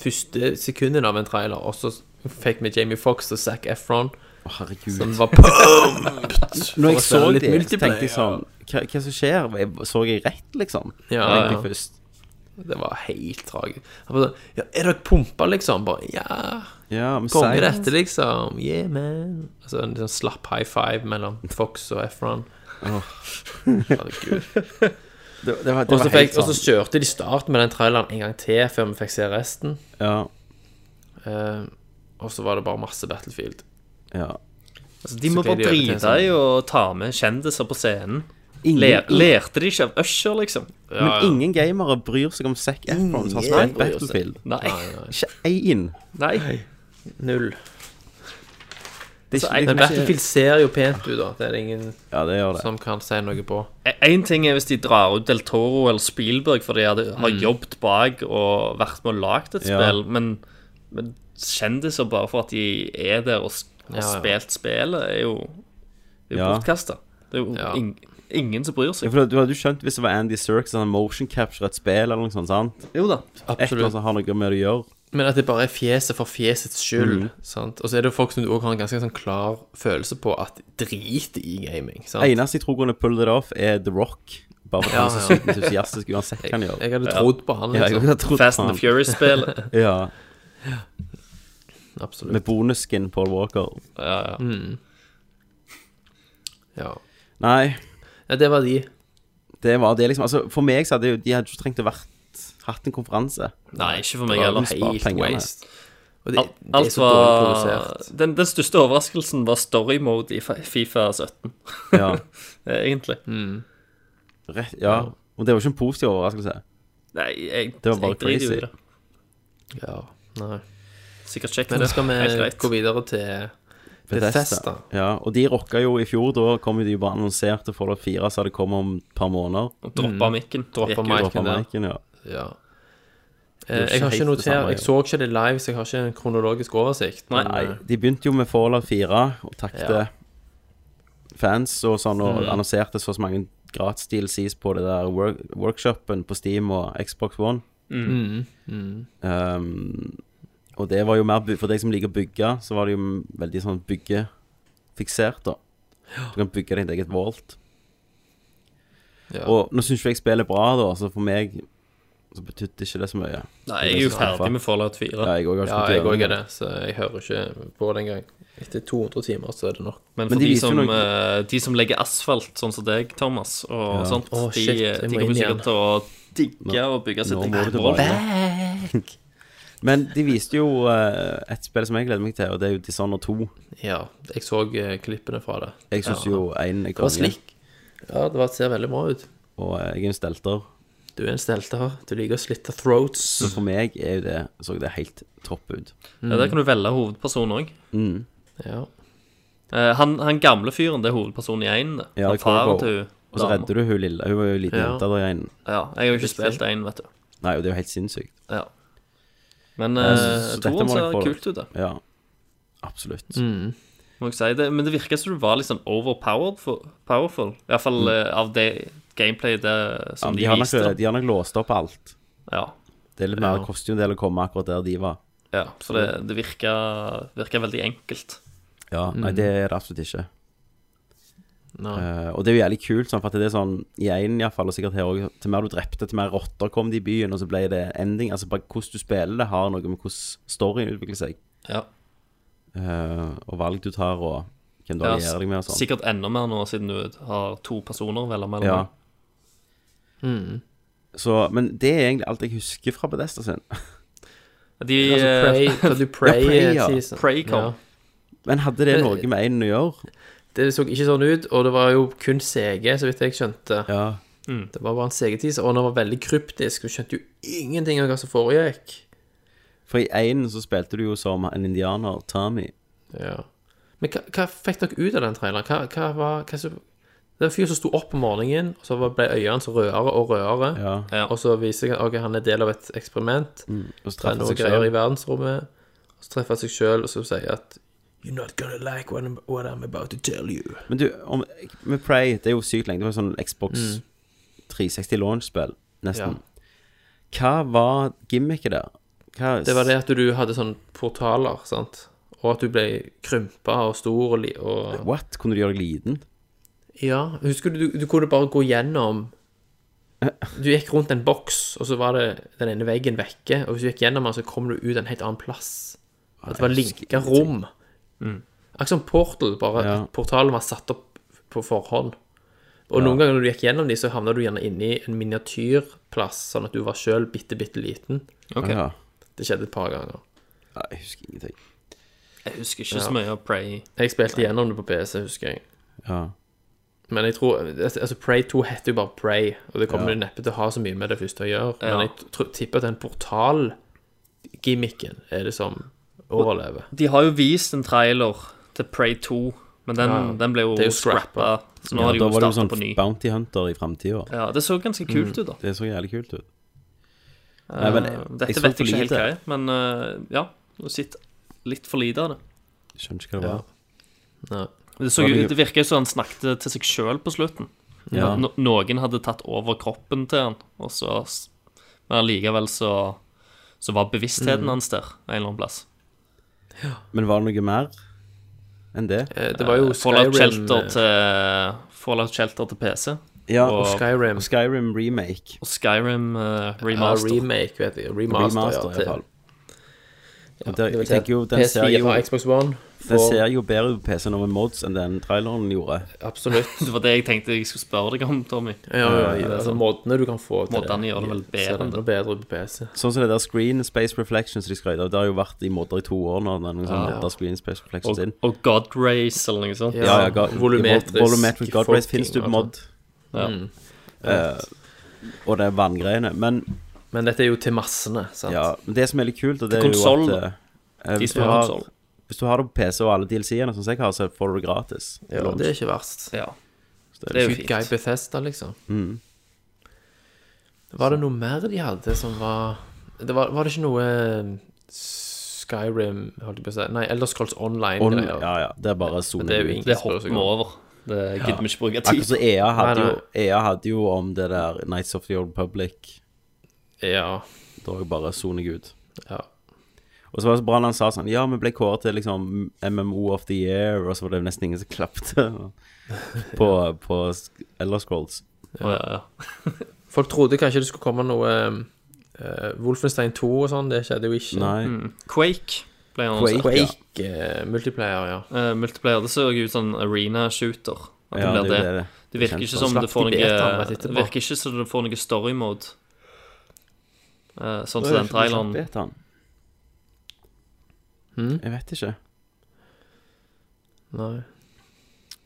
[SPEAKER 5] første sekunden av en trailer, og så fikk vi Jamie Foxx og Zac Efron,
[SPEAKER 4] Å, herregud.
[SPEAKER 5] som var pumped
[SPEAKER 4] Når
[SPEAKER 5] å
[SPEAKER 4] jeg så
[SPEAKER 5] spille litt
[SPEAKER 4] det, så
[SPEAKER 5] multiplayer,
[SPEAKER 4] tenkte jeg sånn Hva, hva som skjer? Jeg- Så jeg rett, liksom?
[SPEAKER 5] Ja,
[SPEAKER 4] Tenkte
[SPEAKER 5] ja.
[SPEAKER 4] jeg først.
[SPEAKER 5] Det var helt tragisk. Han bare sånn Ja, er dere pumpa, liksom? Bare ja.
[SPEAKER 4] Ja, men
[SPEAKER 5] Konge
[SPEAKER 4] seier.
[SPEAKER 5] dette, liksom. Yeah, man. Altså en sånn slapp high five mellom Fox og Efron. Herregud.
[SPEAKER 4] Det, det var, det
[SPEAKER 5] Og
[SPEAKER 4] var
[SPEAKER 5] så
[SPEAKER 4] helt
[SPEAKER 5] fikk- og så
[SPEAKER 4] sånn.
[SPEAKER 5] kjørte de starten med den traileren en gang til før vi fikk se resten.
[SPEAKER 4] Ja,
[SPEAKER 5] Eh, og så var det bare masse Battlefield.
[SPEAKER 4] ja.
[SPEAKER 6] Altså, de må
[SPEAKER 5] Så blir
[SPEAKER 6] bare
[SPEAKER 5] det Mm. jo til
[SPEAKER 6] drite i å ta med kjendiser på scenen. Ler,
[SPEAKER 4] Ingen,
[SPEAKER 6] lærte de ikke av Usher, liksom?
[SPEAKER 4] men ingen gamere bryr seg om Zac Efron som har
[SPEAKER 5] Ingen
[SPEAKER 4] spilt
[SPEAKER 5] bryr seg.
[SPEAKER 4] Battlefield.
[SPEAKER 6] Nei.
[SPEAKER 4] Ikke én.
[SPEAKER 6] Nei.
[SPEAKER 5] Null.
[SPEAKER 4] Det er ikke- det
[SPEAKER 5] Men
[SPEAKER 4] er ikke
[SPEAKER 5] Battlefield ser jo pent ut, da. Det er det ingen
[SPEAKER 4] Ja, det gjør det.
[SPEAKER 5] som kan si noe på.
[SPEAKER 6] Én ting er hvis de drar ut Del Toro eller Spielberg, for de hadde,
[SPEAKER 5] Mm.
[SPEAKER 6] har jobbet bak og vært med og lagd et
[SPEAKER 4] Ja.
[SPEAKER 6] spill, men, men kjendiser bare for at de er der og s- har
[SPEAKER 5] Ja, ja.
[SPEAKER 6] spilt spillet, er jo, det er jo
[SPEAKER 4] Ja.
[SPEAKER 6] bortkasta. Det er jo
[SPEAKER 5] Ja.
[SPEAKER 6] ing- ingen som bryr
[SPEAKER 4] Ja,
[SPEAKER 6] seg.
[SPEAKER 4] for Du hadde jo skjønt hvis det var Andy Serkis som hadde motion capture et spill eller noe sånt. sant?
[SPEAKER 6] Jo da.
[SPEAKER 4] Et eller annet som har noe med det å gjøre.
[SPEAKER 5] Men at det bare er fjeset for fjesets skyld. sant? Og så er det jo folk som du også har en ganske sånn klar følelse på at driter i gaming. sant?
[SPEAKER 4] Eneste jeg tror kunne pulled it off, er The Rock. Bare fordi han er så sykt entusiastisk uansett hva han gjør.
[SPEAKER 5] Jeg hadde trodd på han.
[SPEAKER 4] Ja, jeg
[SPEAKER 5] Liksom.
[SPEAKER 4] hadde trodd
[SPEAKER 6] Fast
[SPEAKER 4] på
[SPEAKER 6] and
[SPEAKER 4] han.
[SPEAKER 6] the Furious-spillet.
[SPEAKER 4] Ja,
[SPEAKER 5] Absolutt.
[SPEAKER 4] med bonusskin Paul Walker.
[SPEAKER 6] Ja, ja.
[SPEAKER 5] Ja.
[SPEAKER 4] Nei,
[SPEAKER 5] ja, det var de.
[SPEAKER 4] det var det, liksom. Altså, for meg så hadde jo de hadde ikke trengt å vært hatt en konferanse.
[SPEAKER 6] Nei, ikke for meg
[SPEAKER 4] Ja,
[SPEAKER 6] heller.
[SPEAKER 4] men spar
[SPEAKER 6] Helt
[SPEAKER 4] pengene.
[SPEAKER 6] waste.
[SPEAKER 5] Og de,
[SPEAKER 6] Al-
[SPEAKER 5] de er
[SPEAKER 6] Alt
[SPEAKER 5] så dårlig
[SPEAKER 6] var
[SPEAKER 5] produsert.
[SPEAKER 6] den, den største overraskelsen var story-mode i Fi- Fifa 17,
[SPEAKER 4] Ja,
[SPEAKER 6] egentlig.
[SPEAKER 5] Mm.
[SPEAKER 4] rett, ja. Og det var ikke en positiv overraskelse.
[SPEAKER 6] Nei, jeg,
[SPEAKER 4] Det var bare
[SPEAKER 6] jeg driter jo
[SPEAKER 4] crazy.
[SPEAKER 6] i det.
[SPEAKER 5] Ja. Nei.
[SPEAKER 6] Sikkert kjekt,
[SPEAKER 5] Men
[SPEAKER 6] det.
[SPEAKER 5] nå skal
[SPEAKER 6] Helt
[SPEAKER 5] vi
[SPEAKER 6] greit.
[SPEAKER 5] gå videre til
[SPEAKER 4] Bethesda.
[SPEAKER 5] Bethesda.
[SPEAKER 4] Ja, og de rocka jo i fjor. Da kom jo de bare annonserte Fallout 4, så det kom om et par måneder.
[SPEAKER 6] Droppa
[SPEAKER 4] Mm.
[SPEAKER 6] mikken.
[SPEAKER 5] Droppa
[SPEAKER 6] Gikk ut.
[SPEAKER 5] mic.
[SPEAKER 4] Droppa
[SPEAKER 5] der.
[SPEAKER 4] Micen, ja.
[SPEAKER 5] Ja.
[SPEAKER 4] er jo
[SPEAKER 5] Eh, Jeg har
[SPEAKER 4] ikke
[SPEAKER 5] ikke
[SPEAKER 4] helt det samme,
[SPEAKER 5] notert Jeg så ikke det live, så jeg har ikke en kronologisk oversikt.
[SPEAKER 6] Nei.
[SPEAKER 4] Nei, de begynte jo med Fallout 4 og takte
[SPEAKER 5] Ja.
[SPEAKER 4] fans og sånn, og
[SPEAKER 6] Mm.
[SPEAKER 4] annonserte så og så mange gratis DLCs på det der work workshopen på Steam og Xbox One.
[SPEAKER 6] Mm.
[SPEAKER 4] Um, og det var jo mer by- For deg som liker å bygge, så var det jo m- veldig sånn byggefiksert, da. Du kan bygge ditt eget vault.
[SPEAKER 5] Ja.
[SPEAKER 4] Og nå syns jo jeg spillet er bra, da, så for meg så betydde ikke det så mye.
[SPEAKER 6] Nei, jeg er jo ferdig med Fallout 4.
[SPEAKER 4] Ja, jeg òg har
[SPEAKER 5] Ja,
[SPEAKER 4] ikke fått
[SPEAKER 5] jeg
[SPEAKER 4] gjennom
[SPEAKER 5] òg er det, så jeg hører ikke på den gang. Etter 200 timer så er det nok.
[SPEAKER 6] Men
[SPEAKER 4] Men
[SPEAKER 6] for
[SPEAKER 4] de
[SPEAKER 6] de,
[SPEAKER 4] viser jo
[SPEAKER 6] som,
[SPEAKER 4] noe-
[SPEAKER 6] eh, de som legger asfalt, sånn som deg, Thomas, og sånt,
[SPEAKER 5] Å,
[SPEAKER 6] de,
[SPEAKER 5] shit, jeg
[SPEAKER 6] de
[SPEAKER 5] må
[SPEAKER 6] kommer
[SPEAKER 5] inn igjen.
[SPEAKER 6] sikkert til å digge og bygge sitt
[SPEAKER 4] Nå må
[SPEAKER 6] eget
[SPEAKER 4] du
[SPEAKER 6] vold.
[SPEAKER 4] tilbake. Men de viste jo eh, et spill som jeg gleder meg til, og det er jo Dishonored 2.
[SPEAKER 5] Ja, jeg så eh, klippene fra det.
[SPEAKER 4] Jeg syns jo én er
[SPEAKER 5] Det var
[SPEAKER 4] konge,
[SPEAKER 5] slikk. Ja, det var, ser veldig bra ut.
[SPEAKER 4] og eh, jeg er en stelter.
[SPEAKER 5] Du er en stelter. Du liker å slitte throats.
[SPEAKER 4] Så for meg er jo det så det helt topp ut.
[SPEAKER 6] Ja, der kan du velge hovedperson òg.
[SPEAKER 5] Ja.
[SPEAKER 6] Eh, Han, han gamle fyren, det er hovedpersonen i én.
[SPEAKER 4] Ja,
[SPEAKER 6] Ja,
[SPEAKER 4] det
[SPEAKER 6] faren
[SPEAKER 4] kommer på.
[SPEAKER 6] til hun
[SPEAKER 4] Og så
[SPEAKER 6] dama.
[SPEAKER 4] redder du hun lille. Hun var jo en liten
[SPEAKER 5] Ja.
[SPEAKER 4] jente da igjen.
[SPEAKER 6] Ja, jeg har jo ikke
[SPEAKER 5] Riktig.
[SPEAKER 6] spilt én, vet du.
[SPEAKER 4] Nei, og det er jo helt sinnssykt.
[SPEAKER 6] Ja. Men
[SPEAKER 4] Ja, så-
[SPEAKER 6] eh,
[SPEAKER 4] så dette må
[SPEAKER 6] toen ser
[SPEAKER 4] dere få.
[SPEAKER 6] kult ut, da.
[SPEAKER 4] Ja, absolutt.
[SPEAKER 6] Må jeg si det. Men det virker som du var litt sånn overpowered. For, powerful. I hvert fall eh, av det gameplayet det,
[SPEAKER 4] Mm. Ja,
[SPEAKER 6] som
[SPEAKER 4] de,
[SPEAKER 6] de,
[SPEAKER 4] har nok,
[SPEAKER 6] viste. da.
[SPEAKER 4] de har nok låst opp alt.
[SPEAKER 6] Ja.
[SPEAKER 4] Det er litt mer koster jo en del å komme akkurat der de var.
[SPEAKER 6] ja, for det, det virker, virker veldig enkelt.
[SPEAKER 4] Ja, Nei, det er det absolutt ikke.
[SPEAKER 5] Nei.
[SPEAKER 4] Eh, og det er jo jævlig kult, sånn, for at det er sånn i én iallfall, og sikkert her òg, til mer du drepte, til mer rotter kom det i byen, og så ble det ending. Altså bare hvordan du spiller det, har noe med hvordan storyen utvikler seg,
[SPEAKER 6] Ja.
[SPEAKER 4] eh, og valg du tar, og hvem du
[SPEAKER 6] Ja,
[SPEAKER 4] allierer deg med, og sånn.
[SPEAKER 6] Sikkert enda mer nå, siden du har to personer å velge mellom.
[SPEAKER 4] Ja. Så, men det er egentlig alt jeg husker fra Bedesta sin.
[SPEAKER 6] De
[SPEAKER 5] Altså, Prey,
[SPEAKER 6] eh,
[SPEAKER 5] hva du Prey,
[SPEAKER 4] Prey,
[SPEAKER 5] eh,
[SPEAKER 4] ja.
[SPEAKER 5] season.
[SPEAKER 6] Prey kom.
[SPEAKER 5] Ja.
[SPEAKER 4] Men hadde det noe med én å gjøre?
[SPEAKER 5] Det så ikke sånn ut, og det var jo kun CG, så vidt jeg skjønte.
[SPEAKER 4] Ja.
[SPEAKER 5] Det var bare en CG-teaser, og den var veldig kryptisk. Du skjønte jo ingenting av hva som foregikk.
[SPEAKER 4] For i én så spilte du jo som en indianer, Tommy.
[SPEAKER 5] Ja. Men hva, hva fikk dere ut av den traileren? Hva, hva var hva som, Det var en fyr som sto opp om morgenen, og så var- ble øynene hans rødere og rødere.
[SPEAKER 4] Ja.
[SPEAKER 6] Ja.
[SPEAKER 5] Og så viser jeg at ok, han er del av et eksperiment.
[SPEAKER 4] Og så
[SPEAKER 5] Det er
[SPEAKER 4] traff han
[SPEAKER 5] noe
[SPEAKER 4] seg
[SPEAKER 5] greier i
[SPEAKER 4] sjøl.
[SPEAKER 5] verdensrommet. Og så treffer han seg sjøl, og så sier jeg at You're not gonna like what I'm, what I'm about to tell you.
[SPEAKER 4] Men du, om, med Prey, det er jo sykt lenge. Det var sånn Xbox
[SPEAKER 6] Mm.
[SPEAKER 4] 360 launch-spill, nesten. Hva var gimmicket der? Hva,
[SPEAKER 5] Det var det at du hadde sånne portaler, sant. Og at du ble krympa og stor og, li- og
[SPEAKER 4] What? Kunne du gjøre deg liten?
[SPEAKER 5] Ja, husker du, du, du kunne bare gå gjennom Du gikk rundt en boks, og så var det den ene veggen vekke, og hvis du gikk gjennom den, så kom du ut en helt annen plass. At det var
[SPEAKER 4] jeg husker
[SPEAKER 5] linka rom. Akkurat som Portal, bare
[SPEAKER 4] Ja.
[SPEAKER 5] at portalen var satt opp på forhånd. Og noen ganger når du gikk gjennom de, så havna du gjerne inni en miniatyrplass, sånn at du var sjøl bitte, bitte liten.
[SPEAKER 6] Ok.
[SPEAKER 4] Ja.
[SPEAKER 5] Det skjedde et par ganger.
[SPEAKER 4] Nei, jeg husker ingenting.
[SPEAKER 6] Jeg husker ikke så mye av Prey.
[SPEAKER 5] Jeg spilte gjennom det på PC, husker jeg.
[SPEAKER 4] Ja.
[SPEAKER 5] Men jeg tror Altså, Prey 2 heter jo bare Prey, og det kommer jo neppe til å ha så mye med det første å gjøre.
[SPEAKER 6] Ja.
[SPEAKER 5] Men jeg tr- tipper at den portalgimmicken er det som overlever.
[SPEAKER 6] De har jo vist en trailer til Prey 2, men den,
[SPEAKER 5] Ja.
[SPEAKER 6] den ble jo,
[SPEAKER 5] Det er jo
[SPEAKER 6] scrappa.
[SPEAKER 5] scrappet.
[SPEAKER 6] Så nå har de
[SPEAKER 4] da
[SPEAKER 6] jo
[SPEAKER 4] var det jo
[SPEAKER 6] starta
[SPEAKER 4] sånn
[SPEAKER 6] på ny.
[SPEAKER 4] Bounty Hunter i framtida.
[SPEAKER 6] Ja, Det så ganske
[SPEAKER 5] Mm.
[SPEAKER 6] kult ut, da.
[SPEAKER 4] Det så jævlig kult ut. Nei, men jeg, jeg
[SPEAKER 6] Eh, Dette
[SPEAKER 4] så
[SPEAKER 6] vet jeg
[SPEAKER 4] for
[SPEAKER 6] ikke helt
[SPEAKER 4] lite.
[SPEAKER 6] hva er, men eh, ja. Du sitter litt for lite av det.
[SPEAKER 4] Skjønner ikke hva det var.
[SPEAKER 5] Nei.
[SPEAKER 6] Det, så, jo- det virker jo som han snakket til seg sjøl på slutten.
[SPEAKER 4] Ja.
[SPEAKER 6] No, noen hadde tatt over kroppen til han, og så, men allikevel så, så var bevisstheten hans der en eller annen plass.
[SPEAKER 4] Men var det noe mer enn det?
[SPEAKER 5] Eh, Det var jo
[SPEAKER 6] Fallout
[SPEAKER 5] Skyrim
[SPEAKER 6] Shelter
[SPEAKER 5] eh,
[SPEAKER 6] til Fallout Shelter til PC.
[SPEAKER 4] Ja,
[SPEAKER 5] og
[SPEAKER 4] og
[SPEAKER 5] Skyrim.
[SPEAKER 4] og Skyrim remake.
[SPEAKER 6] Og Skyrim eh,
[SPEAKER 5] Ja,
[SPEAKER 6] remaster.
[SPEAKER 5] remake, vet jeg. Remaster,
[SPEAKER 4] Remaster, i
[SPEAKER 5] til-
[SPEAKER 4] hvert fall.
[SPEAKER 5] Ja,
[SPEAKER 4] Og der-
[SPEAKER 5] det vil
[SPEAKER 4] jeg
[SPEAKER 5] si
[SPEAKER 4] tenker jo, den ser
[SPEAKER 5] PS4
[SPEAKER 4] jo,
[SPEAKER 5] og Xbox One.
[SPEAKER 4] den
[SPEAKER 5] får-
[SPEAKER 4] ser jo bedre ut på PC-en med mods enn den traileren gjorde.
[SPEAKER 5] Absolutt.
[SPEAKER 6] det var det jeg tenkte jeg skulle spørre deg om, Tommy.
[SPEAKER 5] Ja, ja, ja. Altså, måtene du kan få til
[SPEAKER 6] Måtene gjør det vel bedre
[SPEAKER 5] Ser
[SPEAKER 6] enn
[SPEAKER 5] enda bedre ut på PC.
[SPEAKER 4] Sånn som det der Screen Space Reflections de skrøt av. Det har jo vært i modder i to år nå. Den, sånn,
[SPEAKER 6] Ja.
[SPEAKER 4] modder Screen Space Reflections
[SPEAKER 6] Og,
[SPEAKER 4] inn.
[SPEAKER 6] og God Race eller noe sånt.
[SPEAKER 5] Ja.
[SPEAKER 4] Ja, ja, ga,
[SPEAKER 5] Volumetrisk
[SPEAKER 4] volumetric God Race
[SPEAKER 5] folking,
[SPEAKER 4] finnes det jo på
[SPEAKER 5] altså.
[SPEAKER 4] mod.
[SPEAKER 6] Ja.
[SPEAKER 4] eh, og det er vanngreiene. Men
[SPEAKER 5] Men dette er jo til massene, sant?
[SPEAKER 4] ja, men det som er litt kult, og det
[SPEAKER 6] Til
[SPEAKER 4] er jo
[SPEAKER 6] konsoll,
[SPEAKER 4] at
[SPEAKER 6] da.
[SPEAKER 4] eh,
[SPEAKER 6] De
[SPEAKER 4] hvis, du
[SPEAKER 6] som har
[SPEAKER 4] har,
[SPEAKER 6] konsoll.
[SPEAKER 4] hvis du har det på PC og alle DLC-ene sånn som jeg har, så får du det gratis.
[SPEAKER 5] Ja, det er ikke verst.
[SPEAKER 6] Ja.
[SPEAKER 4] Så det
[SPEAKER 6] Det
[SPEAKER 4] er
[SPEAKER 6] er jo
[SPEAKER 5] Good guy
[SPEAKER 6] fint.
[SPEAKER 5] Bethesda, liksom.
[SPEAKER 4] Mm.
[SPEAKER 5] Var det noe mer de hadde som var Det var, var det ikke noe um, Skyrim, holdt jeg på å si Nei, Elder Scrolls
[SPEAKER 4] on,
[SPEAKER 5] Online-greier.
[SPEAKER 4] ja, ja, det er bare soning
[SPEAKER 5] det er jo
[SPEAKER 4] ut.
[SPEAKER 5] ingen-
[SPEAKER 6] Det hopper vi over. Det gidder vi ikke bruke
[SPEAKER 4] Akkurat
[SPEAKER 6] tid på.
[SPEAKER 4] som EA hadde,
[SPEAKER 5] Nei,
[SPEAKER 4] jo- EA hadde jo om det der Nights of the Old Public.
[SPEAKER 5] Ja,
[SPEAKER 4] Da er jeg bare soner jeg ut.
[SPEAKER 5] ja.
[SPEAKER 4] Og så var det så bra når han sa sånn Ja, vi ble kåret til liksom MMO of the year, og så var det jo nesten ingen som klapte på, på Sk- Elder Scrolls.
[SPEAKER 6] Å, ja, ja.
[SPEAKER 5] Folk trodde kanskje det skulle komme noe eh, Wolfenstein 2 og sånn. Det skjedde jo ikke.
[SPEAKER 4] Nei.
[SPEAKER 6] Mm. Quake ble han
[SPEAKER 4] Quake,
[SPEAKER 6] også.
[SPEAKER 4] ja.
[SPEAKER 5] Ikke eh, multiplayer, ja.
[SPEAKER 6] Eh, multiplayer. Det så jo ut som arena shooter. At det
[SPEAKER 4] Ja,
[SPEAKER 6] blir
[SPEAKER 4] det er
[SPEAKER 6] det.
[SPEAKER 4] jo det.
[SPEAKER 6] Det virker ikke
[SPEAKER 4] kjent
[SPEAKER 6] som
[SPEAKER 5] for.
[SPEAKER 6] det får
[SPEAKER 5] Slapp de betaen
[SPEAKER 6] noe
[SPEAKER 5] rett
[SPEAKER 6] Det
[SPEAKER 5] etterpå.
[SPEAKER 6] virker ikke som det får noe story mode. Eh, sånn
[SPEAKER 4] Hva
[SPEAKER 6] som
[SPEAKER 4] er
[SPEAKER 6] den
[SPEAKER 4] det for noe
[SPEAKER 6] traileren. Hmm?
[SPEAKER 4] slapp vet han? Jeg vet ikke.
[SPEAKER 5] Nei.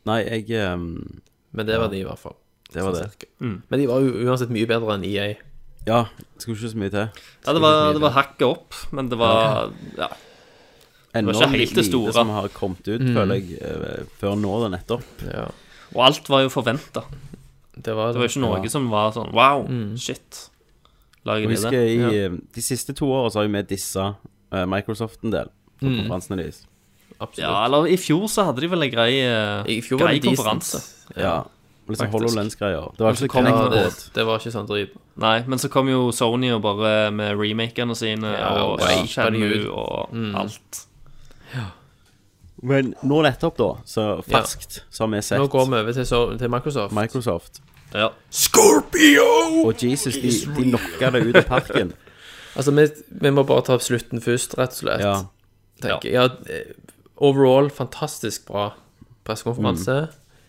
[SPEAKER 4] Nei, jeg ehm,
[SPEAKER 5] Men det var de, i hvert fall.
[SPEAKER 4] Det var det.
[SPEAKER 5] Cirka.
[SPEAKER 6] Mm.
[SPEAKER 5] Men de var jo uansett mye bedre enn E EA.
[SPEAKER 4] Ja, det skulle ikke så mye til.
[SPEAKER 6] Ja, det var, det var hakket opp, men det var ja,
[SPEAKER 4] Ennå
[SPEAKER 6] ikke helt det
[SPEAKER 4] lite
[SPEAKER 6] store. Hmm.
[SPEAKER 4] som har kommet ut, føler jeg, eh, før nå da nettopp.
[SPEAKER 5] Ja.
[SPEAKER 6] Og alt var jo forventa.
[SPEAKER 5] Det var
[SPEAKER 6] Det var jo ikke noe som var sånn Wow, shit. Lager
[SPEAKER 4] Jeg
[SPEAKER 6] de
[SPEAKER 4] husker
[SPEAKER 6] det?
[SPEAKER 4] i eh, de siste to årene så har jo vi dissa eh, Microsoft en del på
[SPEAKER 6] Hmm.
[SPEAKER 4] konferansene deres.
[SPEAKER 5] Absolutt.
[SPEAKER 6] Ja, eller i fjor så hadde de vel en grei, eh,
[SPEAKER 5] I fjor var
[SPEAKER 6] grei
[SPEAKER 5] det decent.
[SPEAKER 6] konferanse.
[SPEAKER 4] Ja. Og Liksom
[SPEAKER 5] Faktisk.
[SPEAKER 4] HoloLens-greier. Det var ikke så
[SPEAKER 6] kom-
[SPEAKER 5] Ja,
[SPEAKER 4] connect
[SPEAKER 5] det,
[SPEAKER 4] mode.
[SPEAKER 5] det var ikke sånn drit.
[SPEAKER 6] Nei, men så kom jo Sony og bare med remakerne sine
[SPEAKER 5] Ja,
[SPEAKER 6] og
[SPEAKER 5] og
[SPEAKER 6] ja,
[SPEAKER 5] shapet de ut.
[SPEAKER 6] og alt.
[SPEAKER 4] Men nå nettopp, da, så ferskt, så har vi
[SPEAKER 5] Nå
[SPEAKER 4] sett
[SPEAKER 5] går vi over til, så, til Microsoft.
[SPEAKER 4] Microsoft.
[SPEAKER 6] Ja.
[SPEAKER 4] Og Jesus, de, de knocka det ut av parken.
[SPEAKER 5] Altså, vi, vi må bare ta opp slutten først, rett og slett.
[SPEAKER 4] Ja.
[SPEAKER 5] tenker jeg. Ja, eh, overall, fantastisk bra pressekonferanse.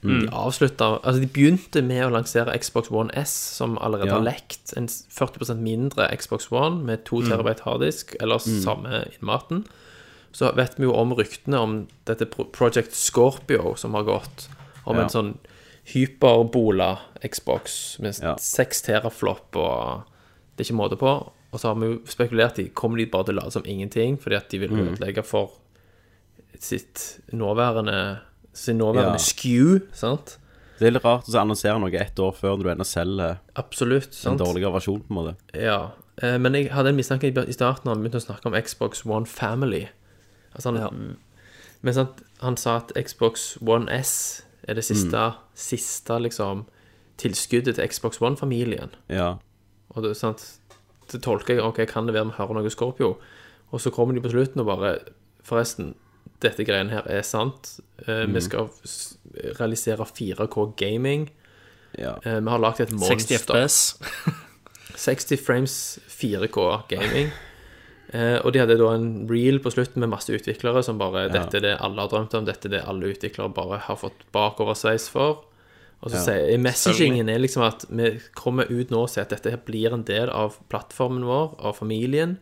[SPEAKER 4] Mm.
[SPEAKER 5] De avslutta Altså, de begynte med å lansere Xbox One S, som allerede
[SPEAKER 4] Ja. Mm.
[SPEAKER 5] har lekt en s- 40 mindre Xbox One med 2 terabyte harddisk, eller samme innmaten. Så vet vi jo om ryktene om dette pro- Project Scorpio som har gått, om
[SPEAKER 4] Ja.
[SPEAKER 5] en sånn hyperbola Xbox med
[SPEAKER 4] Ja.
[SPEAKER 5] 6 teraflop og det er ikke måte på. Og så har vi jo spekulert i Kommer de bare til å late som ingenting fordi at de vil
[SPEAKER 4] Mm.
[SPEAKER 5] ødelegge for sitt nåværende sin nåværende
[SPEAKER 4] Ja.
[SPEAKER 5] skew, sant?
[SPEAKER 4] Det er litt rart å så annonsere noe ett år før når du ennå selger
[SPEAKER 5] Absolutt.
[SPEAKER 4] en
[SPEAKER 5] sant?
[SPEAKER 4] dårligere versjon, på en måte.
[SPEAKER 5] Ja. Eh, Men jeg hadde en mistanke i starten da han begynte å snakke om Xbox One Family. Altså han, Men sant, han sa at Xbox One S er det siste,
[SPEAKER 4] Mm.
[SPEAKER 5] siste liksom, tilskuddet til Xbox One-familien.
[SPEAKER 4] Ja.
[SPEAKER 5] Og det, sant? det tolker jeg OK, kan det være vi hører noe Scorpio? Og så kommer de på slutten og bare Forresten, dette greiene her er sant. Eh, Vi skal s- realisere 4K gaming.
[SPEAKER 4] ja.
[SPEAKER 5] Eh, vi har lagd et
[SPEAKER 6] 60
[SPEAKER 5] monster.
[SPEAKER 6] FPS.
[SPEAKER 5] 60 frames 4K gaming. Eh, og de hadde da en reel på slutten med masse utviklere som bare Dette er det alle har drømt om, dette er det alle utviklere bare har fått bakoversveis for. Og så sier messagingen er liksom at vi kommer ut nå og sier at dette her blir en del av plattformen vår, av familien.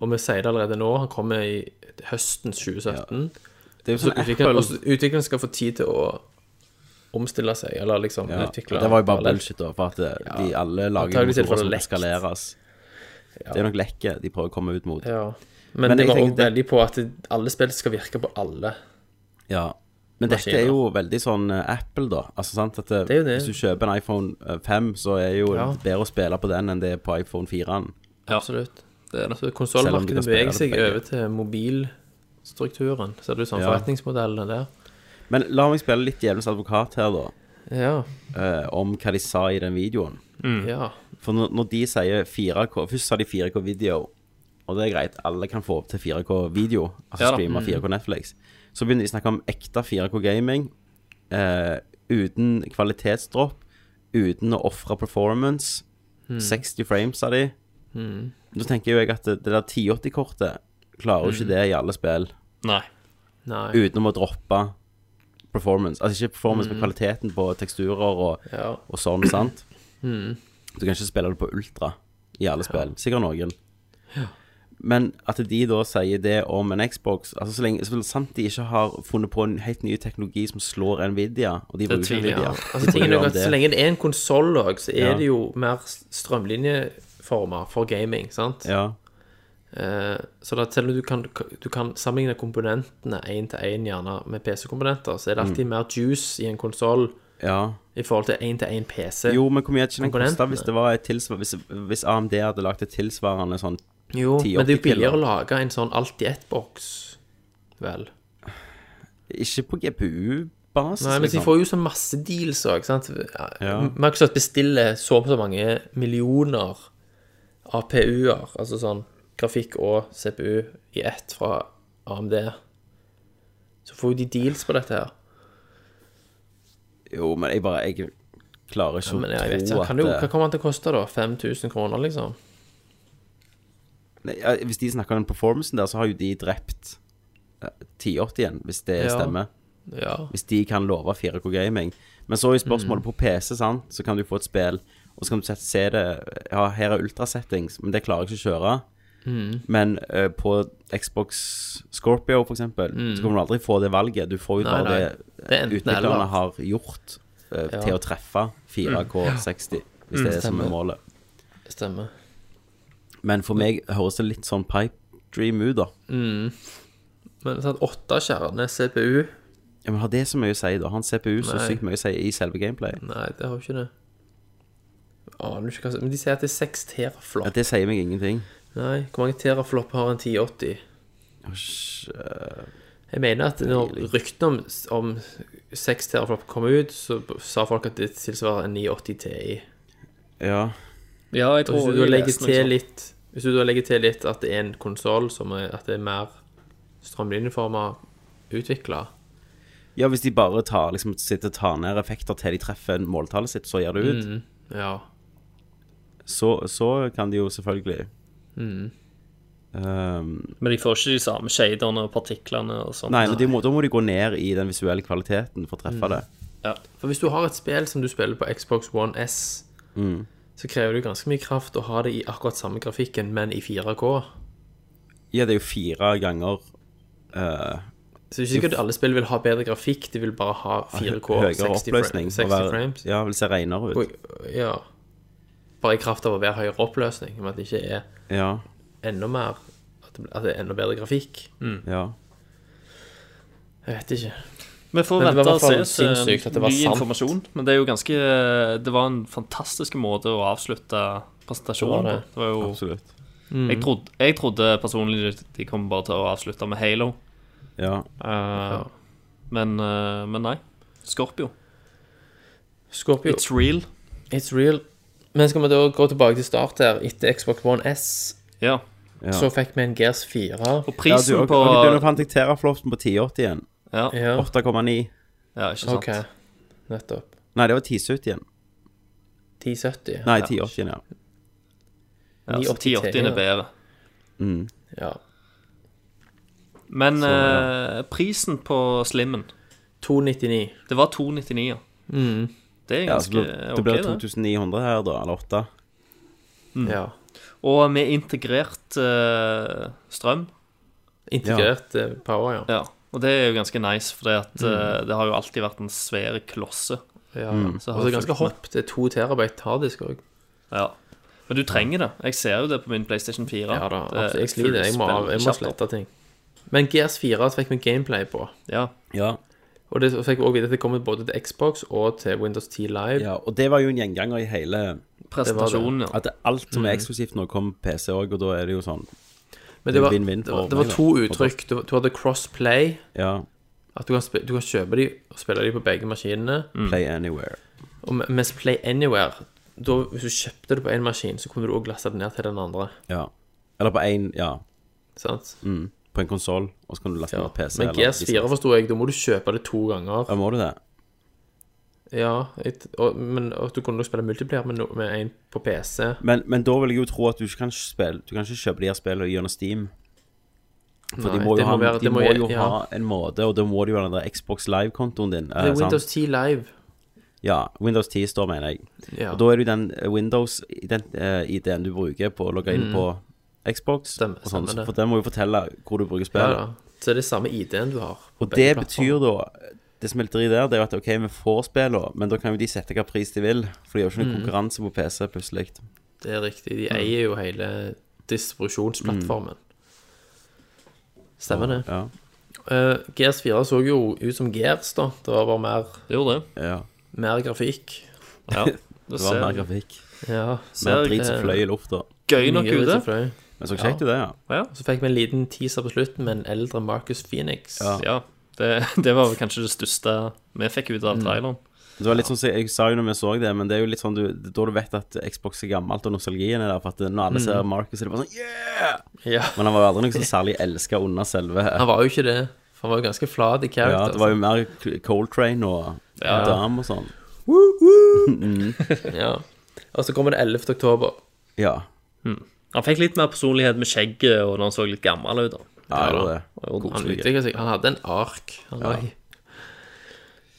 [SPEAKER 5] Og vi sier det allerede nå. Han kommer i høsten 2017.
[SPEAKER 4] Det er jo
[SPEAKER 5] Så
[SPEAKER 4] sånn
[SPEAKER 5] utvikleren, og så utvikleren skal få tid til å omstille seg, eller liksom
[SPEAKER 4] Ja,
[SPEAKER 5] utvikle
[SPEAKER 4] det var jo bare
[SPEAKER 5] parallelt.
[SPEAKER 4] bullshit, da, for at eh, de alle lager
[SPEAKER 5] Antageligvis er det
[SPEAKER 4] motorer som
[SPEAKER 5] lekt.
[SPEAKER 4] eskaleres. Det er nok lekke de prøver å komme ut mot.
[SPEAKER 5] Ja. Men,
[SPEAKER 4] Men
[SPEAKER 5] det
[SPEAKER 4] jeg
[SPEAKER 5] var
[SPEAKER 4] tenker
[SPEAKER 5] også
[SPEAKER 4] det-
[SPEAKER 5] veldig på at det- alle spill skal virke på alle.
[SPEAKER 4] Ja. Men dette
[SPEAKER 5] Maskiner.
[SPEAKER 4] er jo veldig sånn eh, Apple, da. Altså sant at eh,
[SPEAKER 5] Det er jo det.
[SPEAKER 4] Hvis du kjøper en iPhone eh, 5, så er jo
[SPEAKER 5] Ja.
[SPEAKER 4] det bedre å spille på den enn det er på iPhone 4.
[SPEAKER 6] Ja.
[SPEAKER 5] Absolutt.
[SPEAKER 6] Det er det.
[SPEAKER 5] Så
[SPEAKER 4] Selv om du kan
[SPEAKER 5] konsollmarkedet
[SPEAKER 4] spille
[SPEAKER 5] beveger
[SPEAKER 4] det
[SPEAKER 5] seg
[SPEAKER 4] begge.
[SPEAKER 5] over til mobilstrukturen. Ser du sånn
[SPEAKER 4] Ja.
[SPEAKER 5] forretningsmodellene der?
[SPEAKER 4] Men la meg spille litt djevelens advokat her, da.
[SPEAKER 5] Ja.
[SPEAKER 4] eh, om hva de sa i den videoen.
[SPEAKER 5] ja.
[SPEAKER 4] For når, når de sier 4K Først sa de 4K video, og det er greit, alle kan få opp til 4K video, altså
[SPEAKER 6] Ja da. Mm.
[SPEAKER 4] streame 4K Netflix. Så begynner de å snakke om ekte 4K gaming eh, uten kvalitetsdropp, uten å ofre performance.
[SPEAKER 6] Mm.
[SPEAKER 4] 60 frames av de. Da tenker jo jeg at det, det der 1080-kortet klarer
[SPEAKER 6] Mm.
[SPEAKER 4] jo ikke det i alle spill,
[SPEAKER 6] Nei.
[SPEAKER 5] Nei.
[SPEAKER 4] utenom å droppe performance. Altså ikke performance,
[SPEAKER 6] Mm.
[SPEAKER 4] men kvaliteten på teksturer og,
[SPEAKER 5] Ja.
[SPEAKER 4] og sånn, sant?
[SPEAKER 5] Mm.
[SPEAKER 4] Du kan ikke spille det på ultra i alle spill. Sikkert noen. Men at de da sier det om en Xbox altså Så lenge så sant de ikke har funnet på en helt ny teknologi som slår Nvidia Og de
[SPEAKER 5] Det
[SPEAKER 4] bruker
[SPEAKER 5] tviler jeg
[SPEAKER 4] Nvidia.
[SPEAKER 5] på.
[SPEAKER 4] De
[SPEAKER 5] Altså,
[SPEAKER 4] bryr
[SPEAKER 5] tingen er
[SPEAKER 4] om
[SPEAKER 5] jo at
[SPEAKER 4] det.
[SPEAKER 5] så lenge det er en konsoll òg, så er
[SPEAKER 4] Ja.
[SPEAKER 5] det jo mer strømlinjeformer for gaming. sant?
[SPEAKER 4] ja.
[SPEAKER 5] Eh, så da selv om du kan, du kan sammenligne komponentene én til én gjerne med PC-komponenter, så er det alltid mer juice i en konsoll
[SPEAKER 4] ja.
[SPEAKER 5] i forhold til én til én PC.
[SPEAKER 4] Jo, men hvor mye hadde ikke den kosta
[SPEAKER 5] Komponentene.
[SPEAKER 4] hvis, det var et tilsvar- hvis, hvis AMD hadde lagt et tilsvarende sånn
[SPEAKER 5] Jo, men det er
[SPEAKER 4] 1080
[SPEAKER 5] jo billigere å lage en sånn alt-i-ett-boks, vel.
[SPEAKER 4] Ikke på GPU-basis,
[SPEAKER 5] Nei, men de får jo så sånn masse deals òg, sant.
[SPEAKER 4] Ja.
[SPEAKER 5] Microsoft bestiller så og så mange millioner APU-er, altså sånn grafikk og CPU i ett fra AMD. Så får jo de deals på dette her.
[SPEAKER 4] Jo, men jeg bare Jeg klarer ikke
[SPEAKER 5] Men jeg
[SPEAKER 4] å
[SPEAKER 5] vet
[SPEAKER 4] tro
[SPEAKER 5] ikke,
[SPEAKER 4] at
[SPEAKER 5] kan det, jo-
[SPEAKER 4] det-
[SPEAKER 5] hva kommer han til å koste, da? 5000 kroner, liksom?
[SPEAKER 4] Nei, ja, Hvis de snakker om den performancen der, så har jo de drept eh, 1080 igjen, hvis det
[SPEAKER 5] Ja.
[SPEAKER 4] stemmer.
[SPEAKER 5] Ja.
[SPEAKER 4] Hvis de kan love 4K gaming. Men så er jo
[SPEAKER 5] Mm.
[SPEAKER 4] spørsmålet på PC, sant, så kan du få et spill, og så kan du sette- se det Ja, her er ultrasettings, men det klarer jeg ikke å kjøre.
[SPEAKER 5] Mm.
[SPEAKER 4] Men eh, på Xbox Scorpio, for eksempel, så kommer du aldri få det valget. Du får jo
[SPEAKER 5] Mm. Nei,
[SPEAKER 4] bare
[SPEAKER 5] nei. Det er
[SPEAKER 4] det
[SPEAKER 5] enten eller.
[SPEAKER 4] utviklerne har gjort eh,
[SPEAKER 5] Ja. Mm.
[SPEAKER 4] til å treffe 4K60, hvis det er det som
[SPEAKER 5] stemmer.
[SPEAKER 4] er målet.
[SPEAKER 5] Stemmer.
[SPEAKER 4] Men for meg høres det litt sånn pipe dream ut, da.
[SPEAKER 5] Men sånn åtte kjerner CPU
[SPEAKER 4] Ja, men Har det så mye å si, da? Har en CPU så
[SPEAKER 5] Nei. Mm.
[SPEAKER 4] sykt mye å si i selve gameplay?
[SPEAKER 5] Nei, det har jo ikke det. Aner ikke hva som Men de sier at det er seks teraflop.
[SPEAKER 4] Ja, Det sier meg ingenting.
[SPEAKER 5] Nei, hvor mange teraflop har en 1080?
[SPEAKER 4] Hysj,
[SPEAKER 5] Jeg mener at når ryktene om, om 6 teraflop kom ut, så b- sa folk at det tilsvarer en 980 Ti.
[SPEAKER 4] Ja.
[SPEAKER 6] Ja, jeg
[SPEAKER 5] Og hvis
[SPEAKER 6] tror
[SPEAKER 5] du da
[SPEAKER 6] jeg
[SPEAKER 5] legger
[SPEAKER 6] leste noe sånt.
[SPEAKER 5] til litt Hvis du da legger til litt at det er en konsoll som er At det er mer strømlinjeforma utvikla
[SPEAKER 4] ja, hvis de bare tar, liksom, sitter og tar ned effekter til de treffer måltallet sitt, så gjør det ut,
[SPEAKER 5] Ja.
[SPEAKER 4] så, så kan de jo selvfølgelig Ehm,
[SPEAKER 6] Men de får ikke de samme shaderne og partiklene og sånt.
[SPEAKER 4] Nei, men de må, da må de gå ned i den visuelle kvaliteten for å treffe det.
[SPEAKER 5] For hvis du har et spill som du spiller på Xbox One S, så krever det jo ganske mye kraft å ha det i akkurat samme grafikken, men i 4K.
[SPEAKER 4] Ja, det er jo fire ganger eh,
[SPEAKER 5] Så det er ikke sikkert at alle spill vil ha bedre grafikk, de vil bare ha 4K,
[SPEAKER 4] høyere
[SPEAKER 5] 60,
[SPEAKER 4] oppløsning.
[SPEAKER 5] frame,
[SPEAKER 4] og
[SPEAKER 5] 60
[SPEAKER 4] være-
[SPEAKER 5] frames.
[SPEAKER 4] Ja, vil se renere ut.
[SPEAKER 5] Og, ja. Bare i kraft av å være høyere oppløsning, men at det ikke er
[SPEAKER 4] Ja,
[SPEAKER 5] enda mer At det at det er enda bedre grafikk.
[SPEAKER 4] ja.
[SPEAKER 5] Jeg vet ikke.
[SPEAKER 6] Vi får
[SPEAKER 5] Men det var
[SPEAKER 6] vente
[SPEAKER 5] i
[SPEAKER 6] og
[SPEAKER 5] hvert fall
[SPEAKER 6] se
[SPEAKER 5] sinnssykt at det
[SPEAKER 6] til
[SPEAKER 5] var
[SPEAKER 6] ny
[SPEAKER 5] sant.
[SPEAKER 6] informasjon. Men det er jo ganske Det var en fantastisk måte å avslutte presentasjonen på.
[SPEAKER 5] Det var det.
[SPEAKER 6] Det var jo
[SPEAKER 4] Absolutt.
[SPEAKER 6] jeg, trodde, jeg trodde personlig de kom bare til å avslutte med Halo,
[SPEAKER 4] Ja.
[SPEAKER 6] Eh, men, eh, men nei. Scorpio.
[SPEAKER 5] Scorpio, it's,
[SPEAKER 6] It's real.
[SPEAKER 5] real. Men skal vi da gå tilbake til start her, etter Xbox One S,
[SPEAKER 6] Ja.
[SPEAKER 4] Ja.
[SPEAKER 5] så fikk vi en Gears 4.
[SPEAKER 6] Og
[SPEAKER 4] ja
[SPEAKER 6] prisen
[SPEAKER 4] du, og,
[SPEAKER 6] på
[SPEAKER 4] og du begynner å fantiktere flopsen på 1080 igjen.
[SPEAKER 6] ja,
[SPEAKER 5] Ja,
[SPEAKER 4] 8,9.
[SPEAKER 6] ja, ikke sant.
[SPEAKER 5] OK. Nettopp.
[SPEAKER 4] Nei, det var 1070 igjen.
[SPEAKER 5] 1070.
[SPEAKER 4] Nei, 1080 igjen, ja.
[SPEAKER 6] Ja, så
[SPEAKER 5] 980
[SPEAKER 6] 1080 er bedre.
[SPEAKER 5] Ja.
[SPEAKER 6] Men eh, prisen på Slimmen
[SPEAKER 5] 299.
[SPEAKER 6] Det var 299, ja.
[SPEAKER 5] Mm.
[SPEAKER 6] Det er
[SPEAKER 4] ja så
[SPEAKER 6] ganske
[SPEAKER 4] det, det blir
[SPEAKER 6] ok, det.
[SPEAKER 4] 2900 her, da. Eller 8. Mm.
[SPEAKER 5] Ja.
[SPEAKER 6] Og med integrert eh, strøm.
[SPEAKER 5] Integrert eh, power, ja.
[SPEAKER 6] Ja. Og det er jo ganske nice, for det har jo alltid vært en svær klosse.
[SPEAKER 5] ja.
[SPEAKER 6] Så har
[SPEAKER 5] Og så
[SPEAKER 6] jeg
[SPEAKER 5] ganske
[SPEAKER 6] fulgt med.
[SPEAKER 5] hopp. Det er to terabyte harddisk òg.
[SPEAKER 6] Ja. Men du trenger det. Jeg ser jo det på min PlayStation 4.
[SPEAKER 5] Ja da,
[SPEAKER 6] Det er
[SPEAKER 5] absolutt. Jeg sliter. Jeg må,
[SPEAKER 6] fullspill-
[SPEAKER 5] jeg må
[SPEAKER 6] kjapt.
[SPEAKER 5] slette ting. Men Gears 4 fikk vi gameplay på.
[SPEAKER 6] Ja.
[SPEAKER 4] Ja.
[SPEAKER 5] Og det fikk vi også vite at det kommer både til Xbox og til Windows 10 Live.
[SPEAKER 4] ja. Og det var jo en gjenganger i hele
[SPEAKER 6] Presentasjonen, ja.
[SPEAKER 4] At det, alt som
[SPEAKER 5] Mm.
[SPEAKER 4] er eksklusivt nå, kommer på PC òg, og da er det jo sånn
[SPEAKER 5] Men det var,
[SPEAKER 4] Win-win
[SPEAKER 5] det
[SPEAKER 4] for
[SPEAKER 5] var, det var
[SPEAKER 4] meg,
[SPEAKER 5] to
[SPEAKER 4] da.
[SPEAKER 5] uttrykk. Du, du hadde crossplay,
[SPEAKER 4] Ja.
[SPEAKER 5] at du kan, spe- du kan kjøpe de og spille de på begge maskinene.
[SPEAKER 4] Play anywhere.
[SPEAKER 5] Og me- mens Play Anywhere da, Hvis du kjøpte det på én maskin, så kunne du også laste det ned til den andre.
[SPEAKER 4] Ja. Eller på én Ja.
[SPEAKER 5] Sant?
[SPEAKER 4] Mm. På en konsoll, og så kan du laste
[SPEAKER 5] Ja.
[SPEAKER 4] ned på PC.
[SPEAKER 5] Men
[SPEAKER 4] eller
[SPEAKER 5] Gears
[SPEAKER 4] hvis-
[SPEAKER 5] 4 forsto jeg, da må du kjøpe det to ganger.
[SPEAKER 4] Ja, må du det?
[SPEAKER 5] Ja, et, og, men, og du kunne nok spille multiplayer med, no- med en på PC.
[SPEAKER 4] Men, men da vil jeg jo tro at du ikke kan spille Du kan ikke kjøpe de her spillene gjennom Steam. For
[SPEAKER 5] Nei,
[SPEAKER 4] de må jo,
[SPEAKER 5] det
[SPEAKER 4] ha,
[SPEAKER 5] må være-
[SPEAKER 4] de
[SPEAKER 5] det
[SPEAKER 4] må
[SPEAKER 5] må jeg-
[SPEAKER 4] jo
[SPEAKER 5] ja.
[SPEAKER 4] ha en måte, og da må de jo ha den der Xbox Live-kontoen din.
[SPEAKER 5] Det
[SPEAKER 4] eh,
[SPEAKER 5] er Windows 10 Live.
[SPEAKER 4] Sant? Ja, Windows 10 står, mener jeg.
[SPEAKER 5] Ja,
[SPEAKER 4] Og da er det jo den eh, Windows-ideen eh, du bruker på å logge inn på Xbox.
[SPEAKER 5] Mm. Stemmer-
[SPEAKER 4] og sånn,
[SPEAKER 5] stemmer
[SPEAKER 4] så-
[SPEAKER 5] det.
[SPEAKER 4] for den må jo fortelle hvor du bruker
[SPEAKER 5] ja,
[SPEAKER 4] spillet.
[SPEAKER 5] ja. Så det er det samme ID-en du har. på
[SPEAKER 4] Og
[SPEAKER 5] begge
[SPEAKER 4] det
[SPEAKER 5] plattformer.
[SPEAKER 4] betyr da Det som er litt dritt der, det er jo at OK, vi får spillene, men da kan jo de sette hva pris de vil. For de har jo ikke noen
[SPEAKER 5] Mm.
[SPEAKER 4] konkurranse på PC, plutselig.
[SPEAKER 5] Det er riktig. De eier jo hele distribusjonsplattformen. Stemmer det.
[SPEAKER 4] Mm. Ja,
[SPEAKER 5] Eh, GS4 så jo ut som Gears, da. Det var bare mer,
[SPEAKER 6] Det gjorde det.
[SPEAKER 4] ja.
[SPEAKER 5] mer grafikk.
[SPEAKER 6] Ja, det
[SPEAKER 4] Det var mer
[SPEAKER 6] ser,
[SPEAKER 4] grafikk.
[SPEAKER 5] Ja.
[SPEAKER 4] Mer
[SPEAKER 6] ser
[SPEAKER 4] drit som fløy i lufta.
[SPEAKER 6] gøy nok
[SPEAKER 5] Mye
[SPEAKER 6] ut. det.
[SPEAKER 5] litt fløy.
[SPEAKER 4] Men så kjekt ut, det, ja.
[SPEAKER 6] Ja,
[SPEAKER 5] Så fikk vi en liten teaser på slutten med en eldre Marcus Phoenix.
[SPEAKER 4] Ja.
[SPEAKER 6] ja. Det, det var vel kanskje det største vi fikk ut av traileren.
[SPEAKER 4] Det var litt sånn, som Jeg sa jo når vi så det, men det er jo litt sånn du, da du vet at Xbox er gammelt, og nostalgien er der. For at når
[SPEAKER 5] Mm.
[SPEAKER 4] alle ser Marcus, er det bare sånn Yeah!
[SPEAKER 5] Ja.
[SPEAKER 4] Men han var jo aldri noe så særlig elska under selve
[SPEAKER 5] Han var jo ikke det. for Han var jo ganske flat i character.
[SPEAKER 4] Ja, det var jo mer Coltrane og
[SPEAKER 6] Ja.
[SPEAKER 4] Dam og sånn.
[SPEAKER 5] altså. ja. Og så kommer det 11. oktober.
[SPEAKER 4] Ja.
[SPEAKER 6] Han fikk litt mer personlighet med skjegget og når han så litt gammel ut. da
[SPEAKER 4] Ja, det var det.
[SPEAKER 5] Han
[SPEAKER 4] Koselig.
[SPEAKER 5] utviklet seg. Han hadde en ark. Han var i.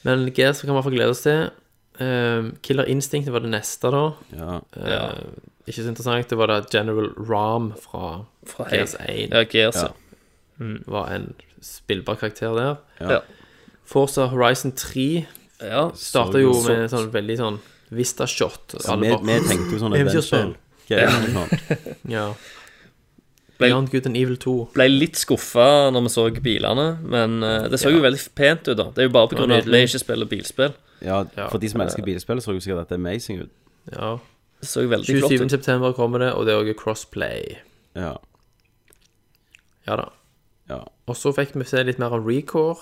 [SPEAKER 5] Men GS kan vi i hvert fall glede oss til. Ehm, Killer Instinct var det neste, da.
[SPEAKER 4] Ja.
[SPEAKER 5] Ehm, Ikke så interessant. Det var da General Ram fra,
[SPEAKER 6] Fra
[SPEAKER 5] GS1.
[SPEAKER 6] Ja, Gears,
[SPEAKER 4] Ja.
[SPEAKER 6] ja.
[SPEAKER 5] Var en spillbar karakter der.
[SPEAKER 4] Ja.
[SPEAKER 5] Forza Horizon 3
[SPEAKER 6] Ja,
[SPEAKER 5] starta jo med sånn veldig sånn Vista shot.
[SPEAKER 4] Ja, vi, vi tenkte jo sånn
[SPEAKER 5] Eventyrspill.
[SPEAKER 4] adventure. Okay, sånn.
[SPEAKER 5] Ja. Beyond Good and Evil 2.
[SPEAKER 6] Ble litt skuffa når vi så bilene, men eh, det så jo veldig pent ut, da. Det er jo bare pga. at vi
[SPEAKER 5] nydelig.
[SPEAKER 6] ikke spiller bilspill.
[SPEAKER 4] Ja,
[SPEAKER 5] Ja.
[SPEAKER 4] for de som elsker bilspill, så jo sikkert dette amazing ut.
[SPEAKER 5] Ja.
[SPEAKER 6] Det så jo veldig flott
[SPEAKER 5] 27.
[SPEAKER 6] ut.
[SPEAKER 5] september kommer det, og det er òg crossplay.
[SPEAKER 4] Ja.
[SPEAKER 5] Ja da.
[SPEAKER 4] Ja.
[SPEAKER 5] Og så fikk vi se litt mer om Recore.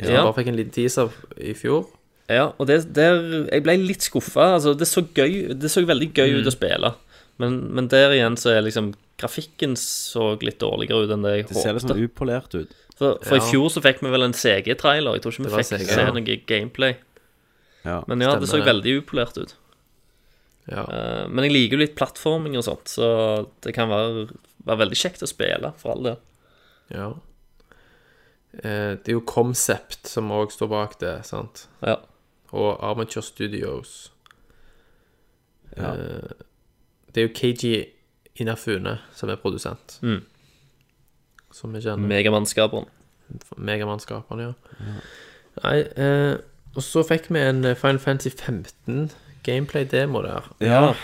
[SPEAKER 5] Som
[SPEAKER 6] Ja.
[SPEAKER 5] vi bare fikk en liten teaser i fjor.
[SPEAKER 6] Ja, og det, der, jeg ble litt skuffa. Altså, det så gøy Det så veldig gøy
[SPEAKER 5] Mm.
[SPEAKER 6] ut å spille, men, men der igjen så er liksom Grafikken så litt dårligere ut enn det jeg
[SPEAKER 4] Det ser litt
[SPEAKER 6] håpte.
[SPEAKER 4] sånn upolert ut.
[SPEAKER 6] For, for
[SPEAKER 5] Ja.
[SPEAKER 6] i fjor så fikk vi vel en CG-trailer. Jeg tror ikke
[SPEAKER 5] Det
[SPEAKER 6] vi
[SPEAKER 5] var
[SPEAKER 6] fikk
[SPEAKER 5] CG,
[SPEAKER 6] se
[SPEAKER 5] ja.
[SPEAKER 6] noe gameplay.
[SPEAKER 4] Ja.
[SPEAKER 6] Men ja, det så
[SPEAKER 5] Stemmer det.
[SPEAKER 6] veldig upolert ut.
[SPEAKER 5] Ja.
[SPEAKER 6] Eh, Men jeg liker jo litt plattforming og sånt, så det kan være, være veldig kjekt å spille, for all del.
[SPEAKER 5] ja. Eh, det er jo Concept som òg står bak det, sant?
[SPEAKER 6] Ja.
[SPEAKER 5] Og Armature Studios.
[SPEAKER 4] Ja.
[SPEAKER 5] Eh, det er jo KG Inafune som er produsent.
[SPEAKER 6] Mm.
[SPEAKER 5] Som vi kjenner.
[SPEAKER 6] Megamannskaperen.
[SPEAKER 5] Megamannskapene, ja. Nei, eh, og så fikk vi en eh, Final Fantasy 15 gameplay-demo der.
[SPEAKER 4] ja.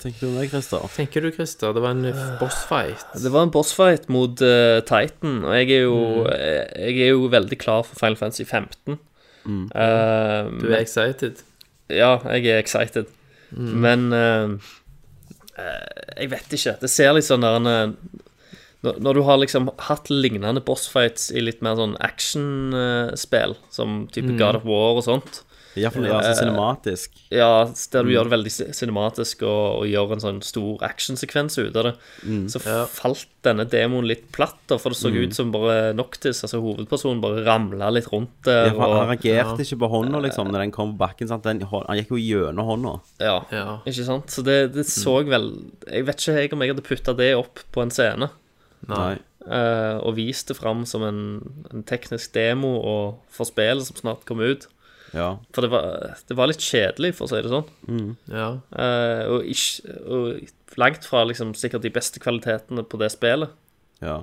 [SPEAKER 4] Tenkte du om det, Christer?
[SPEAKER 5] Tenker du, Christer, det var en bossfight?
[SPEAKER 6] Det var en bossfight mot eh, Titan, og jeg er, jo, eh, jeg er jo veldig klar for Final Fantasy 15. Eh,
[SPEAKER 5] Du er excited?
[SPEAKER 6] Ja, jeg er excited. Men eh, eh, jeg vet ikke. Det ser litt sånn der en, eh, når, når du har liksom hatt lignende bossfights i litt mer sånn actionspill, som type God of War og sånt,
[SPEAKER 4] Iallfall ja, så cinematisk.
[SPEAKER 6] Ja, der du
[SPEAKER 4] Mm.
[SPEAKER 6] gjør det veldig ci- cinematisk og, og gjør en sånn stor actionsekvens ut av det.
[SPEAKER 4] Mm.
[SPEAKER 6] Så falt denne demoen litt platt, da, for det så ut som bare Noctis, altså hovedpersonen, bare ramla litt rundt der.
[SPEAKER 4] Ja, for han
[SPEAKER 6] Og,
[SPEAKER 4] reagerte ikke på hånda liksom når den kom på bakken. Sant? Den, hå- han gikk jo gjennom hånda.
[SPEAKER 6] ja,
[SPEAKER 5] Ja.
[SPEAKER 6] ikke sant? Så det, det så
[SPEAKER 4] Mm.
[SPEAKER 6] vel Jeg vet ikke jeg om jeg hadde putta det opp på en scene
[SPEAKER 5] Nei.
[SPEAKER 6] eh, og vist det fram som en, en teknisk demo og for spillet som snart kom ut.
[SPEAKER 4] Ja.
[SPEAKER 6] For det var, det var litt kjedelig, for å si det sånn.
[SPEAKER 5] Ja.
[SPEAKER 6] Eh, og, ikke, og langt fra liksom, sikkert de beste kvalitetene på det spillet.
[SPEAKER 4] ja.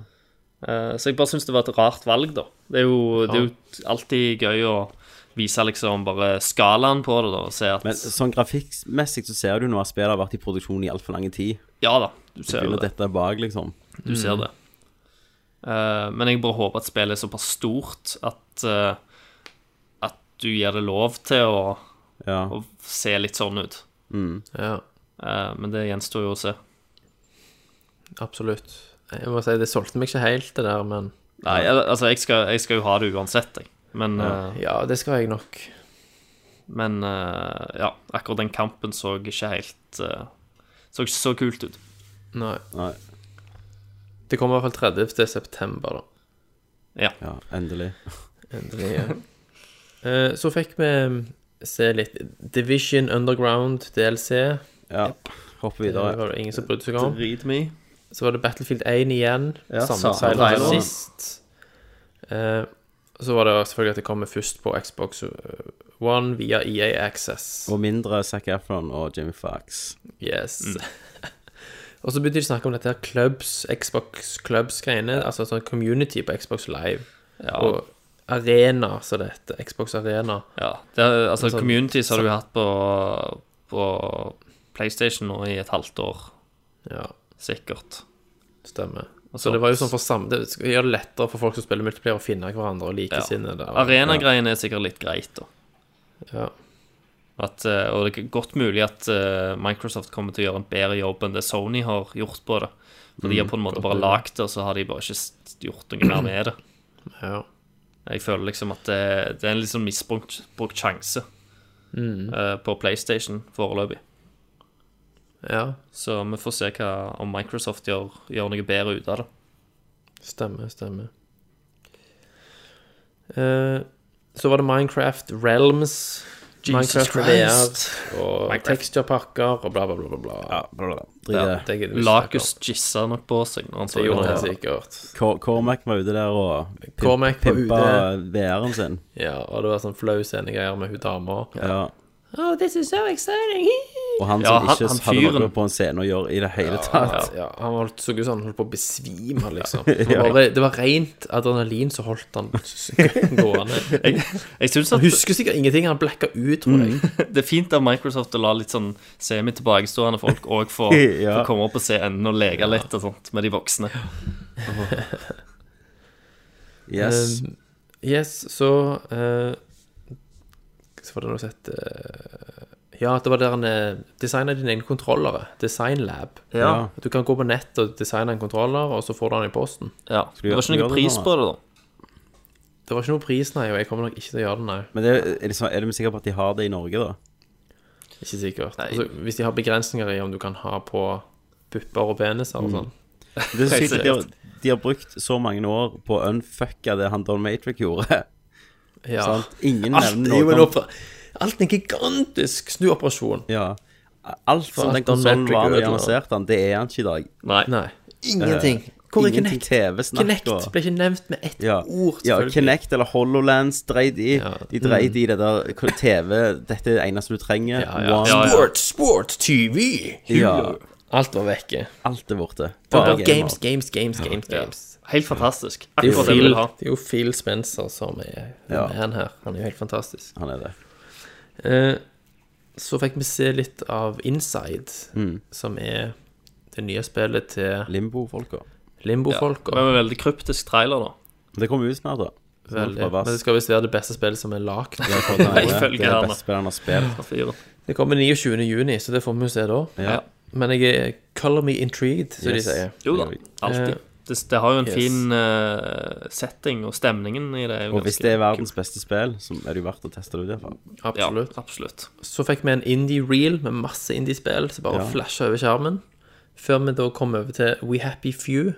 [SPEAKER 6] Eh, så jeg bare syns det var et rart valg, da. Det er jo, det er jo alltid gøy å vise liksom bare skalaen på det, da, og se at
[SPEAKER 4] Men sånn grafikkmessig så ser du nå at spillet har vært i produksjon i altfor lang tid.
[SPEAKER 6] Ja da, du ser jo
[SPEAKER 4] Føler
[SPEAKER 6] det.
[SPEAKER 4] dette er bak, liksom.
[SPEAKER 6] Du ser det. Eh, men jeg bare håper at spillet er såpass stort at eh, At du gir det lov til å,
[SPEAKER 4] Ja.
[SPEAKER 6] å se litt sånn ut.
[SPEAKER 5] ja.
[SPEAKER 6] Eh, men det gjenstår jo å se.
[SPEAKER 5] Absolutt. Jeg må si, det solgte meg ikke helt, det der, men
[SPEAKER 6] Nei, jeg- altså, jeg skal, jeg skal jo ha det uansett, jeg. Men eh,
[SPEAKER 5] Ja, det skal jeg nok.
[SPEAKER 6] Men eh, ja, akkurat den kampen så ikke helt eh, Så ikke så kult ut.
[SPEAKER 5] Nei.
[SPEAKER 4] Nei.
[SPEAKER 5] Det kommer i hvert fall 30. september, da.
[SPEAKER 6] Ja.
[SPEAKER 4] Ja, endelig.
[SPEAKER 5] Endelig. Ja. Eh, så fikk vi se litt Division Underground DLC.
[SPEAKER 4] Ja. Hopper
[SPEAKER 5] Det var
[SPEAKER 4] videre.
[SPEAKER 5] det ingen som brydde seg om.
[SPEAKER 6] Read me.
[SPEAKER 5] Så var det Battlefield 1 igjen.
[SPEAKER 6] Ja,
[SPEAKER 5] samme
[SPEAKER 6] samme
[SPEAKER 5] trailer som
[SPEAKER 6] trailer.
[SPEAKER 5] sist. Eh, så var det selvfølgelig at det kommer først på Xbox eh, One via EA Access.
[SPEAKER 4] Og mindre Zac Efron og Jimmy Fox.
[SPEAKER 5] Yes.
[SPEAKER 6] Mm.
[SPEAKER 5] og så begynte de å snakke om dette her clubs, Xbox Clubs-greiene. Altså sånn community på Xbox Live.
[SPEAKER 6] Ja.
[SPEAKER 5] Og Arena, som det heter. Xbox Arena.
[SPEAKER 6] ja. Det er, altså,
[SPEAKER 5] Altså,
[SPEAKER 6] communities har du jo hatt på, på PlayStation nå i et halvt år,
[SPEAKER 5] Ja,
[SPEAKER 6] sikkert.
[SPEAKER 5] stemmer. Så det var jo sånn for sam Det skal gjøre det lettere for folk som spiller multiplier, å finne hverandre og
[SPEAKER 6] Ja.
[SPEAKER 5] likesinnede. Ja.
[SPEAKER 6] Arenagreiene er sikkert litt greit, da.
[SPEAKER 5] Ja.
[SPEAKER 6] At, eh, og det er godt mulig at eh, Microsoft kommer til å gjøre en bedre jobb enn det Sony har gjort på det. For de har på en måte
[SPEAKER 5] Mm, godt
[SPEAKER 6] bare
[SPEAKER 5] mulig.
[SPEAKER 6] lagd det, og så har de bare ikke s- gjort noe mer med det.
[SPEAKER 5] ja.
[SPEAKER 6] Jeg føler liksom at det, det er en litt sånn misbrukt brukt sjanse eh, på PlayStation foreløpig.
[SPEAKER 5] ja.
[SPEAKER 6] Så vi får se hva, om Microsoft gjør, gjør noe bedre ut av det.
[SPEAKER 5] Stemmer, stemmer. Eh, så var det Minecraft Realms. Minecraft VR og tekstpakker og bla, bla, bla. bla, bla.
[SPEAKER 4] Ja, bla, bla, bla. Drit i det.
[SPEAKER 5] det gidder vi ikke snakke om.
[SPEAKER 6] Lacus jissa nok på seg når han så
[SPEAKER 5] Det gjorde han
[SPEAKER 6] det.
[SPEAKER 5] sikkert.
[SPEAKER 4] Cor- Cormac var ute der og pimp-
[SPEAKER 5] Cormac var
[SPEAKER 4] pimpa
[SPEAKER 5] ute.
[SPEAKER 4] VR-en sin.
[SPEAKER 5] Ja, og det var sånn flau scenegreier med hun dama.
[SPEAKER 4] Ja.
[SPEAKER 5] Oh, this is so exciting!
[SPEAKER 4] Og han
[SPEAKER 6] Ja,
[SPEAKER 4] som
[SPEAKER 6] han-
[SPEAKER 4] ikke
[SPEAKER 6] han
[SPEAKER 4] hadde noe
[SPEAKER 6] fyren.
[SPEAKER 4] på en scene å gjøre i det hele
[SPEAKER 5] Ja,
[SPEAKER 4] tatt.
[SPEAKER 5] ja, han holdt, så ut som han holdt på å besvime, liksom. Det var, bare, det var rent adrenalin som holdt han s- gående.
[SPEAKER 6] Jeg, jeg synes
[SPEAKER 5] Han
[SPEAKER 6] at
[SPEAKER 5] husker sikkert ingenting. Han blacka ut, tror jeg.
[SPEAKER 4] Mm.
[SPEAKER 6] Det er fint av Microsoft å la litt sånn semi-tilbakestående folk òg få,
[SPEAKER 4] Ja.
[SPEAKER 6] få komme opp på scenen og leke litt og sånt med de voksne.
[SPEAKER 4] Yes.
[SPEAKER 5] Um, yes, så eh, Så var det noe sett Ja, det var der han eh, designet dine egne kontrollere. Designlab.
[SPEAKER 4] Ja.
[SPEAKER 5] eh. Du kan gå på nett og designe en kontroller, og så får du den i posten.
[SPEAKER 6] Ja.
[SPEAKER 4] vi
[SPEAKER 6] Det var ikke
[SPEAKER 4] gjøre
[SPEAKER 6] noe
[SPEAKER 4] det
[SPEAKER 6] pris
[SPEAKER 4] nå,
[SPEAKER 6] på det, da.
[SPEAKER 5] Det var ikke noe pris, nei, og jeg kommer nok ikke til å gjøre det, nei.
[SPEAKER 4] Men det, er, det, sånn- er de sikre på at de har det i Norge, da?
[SPEAKER 5] Ikke sikkert. Altså, hvis de har begrensninger i om du kan ha på pupper og peniser
[SPEAKER 4] Mm.
[SPEAKER 5] og sånn.
[SPEAKER 4] Det er så
[SPEAKER 6] Helt
[SPEAKER 4] sykt at de har, de har brukt så mange år på å unfucke det han Don Matrick gjorde.
[SPEAKER 5] Ja.
[SPEAKER 4] Sant? Ingen
[SPEAKER 5] Alt er
[SPEAKER 4] nevner
[SPEAKER 5] jo en
[SPEAKER 4] noe om
[SPEAKER 5] opera... Alt er en gigantisk snuoperasjon.
[SPEAKER 4] ja. Alt fra
[SPEAKER 5] Alt
[SPEAKER 4] den
[SPEAKER 5] Don
[SPEAKER 4] konsollen
[SPEAKER 5] Matrick
[SPEAKER 4] var da de
[SPEAKER 5] ødela.
[SPEAKER 4] annonserte han, det er han ikke i dag.
[SPEAKER 6] Nei.
[SPEAKER 5] Nei. Ingenting. Hvor er
[SPEAKER 4] Eh, Ingenting
[SPEAKER 5] Kinect?
[SPEAKER 4] TV-snakk
[SPEAKER 5] Kinect
[SPEAKER 4] og
[SPEAKER 5] ble ikke nevnt med ett
[SPEAKER 4] ja.
[SPEAKER 5] ord,
[SPEAKER 4] ja,
[SPEAKER 5] selvfølgelig. Mm.
[SPEAKER 4] Kinect eller HoloLands dreide i.
[SPEAKER 5] Ja.
[SPEAKER 4] De dreide i det der k- TV, dette er det eneste du trenger.
[SPEAKER 5] Ja, ja.
[SPEAKER 4] One.
[SPEAKER 6] Ja, ja.
[SPEAKER 5] Sport, sport, TV!
[SPEAKER 4] Ja.
[SPEAKER 5] Alt var vekke.
[SPEAKER 4] Alt er borte.
[SPEAKER 5] Bare
[SPEAKER 4] Bare gamer.
[SPEAKER 5] games, games, games, games. games.
[SPEAKER 6] Helt fantastisk.
[SPEAKER 5] Det, er jo
[SPEAKER 6] Akkurat det vi
[SPEAKER 5] Phil,
[SPEAKER 6] vil ha.
[SPEAKER 5] det er jo Phil Spencer som er
[SPEAKER 4] Ja.
[SPEAKER 5] man her. Han er jo helt fantastisk.
[SPEAKER 4] Han er det.
[SPEAKER 5] Eh, så fikk vi se litt av Inside,
[SPEAKER 4] Mm.
[SPEAKER 5] som er det nye spillet til
[SPEAKER 4] Limbo-folka.
[SPEAKER 5] Limbo-folka.
[SPEAKER 6] Det var en veldig kryptisk trailer, da.
[SPEAKER 4] Det kommer ut snart, da.
[SPEAKER 5] Veldig.
[SPEAKER 4] Fra Vass.
[SPEAKER 5] Men det skal visst være det beste spillet som er lagd.
[SPEAKER 6] ifølge
[SPEAKER 4] Det er
[SPEAKER 6] han,
[SPEAKER 4] det
[SPEAKER 6] da.
[SPEAKER 4] beste spillet han har spilt.
[SPEAKER 6] fra fyren.
[SPEAKER 5] Det kommer 29. juni, så det får vi jo se da.
[SPEAKER 4] Ja.
[SPEAKER 5] Men jeg er color me intrigued, som
[SPEAKER 4] Yes.
[SPEAKER 5] de sier.
[SPEAKER 6] Jo da, alltid.
[SPEAKER 5] Eh,
[SPEAKER 6] Det, det har jo en
[SPEAKER 5] yes.
[SPEAKER 6] fin eh, setting, og stemningen i det er jo
[SPEAKER 4] Og hvis
[SPEAKER 6] ganske
[SPEAKER 4] det er verdens beste spill, så er det jo verdt å teste det ut, iallfall.
[SPEAKER 5] Absolutt.
[SPEAKER 6] Ja, absolutt.
[SPEAKER 5] Så fikk vi en indie reel med masse indie-spill som bare
[SPEAKER 4] Ja.
[SPEAKER 5] flasha over skjermen. Før vi da kom over til We Happy Few,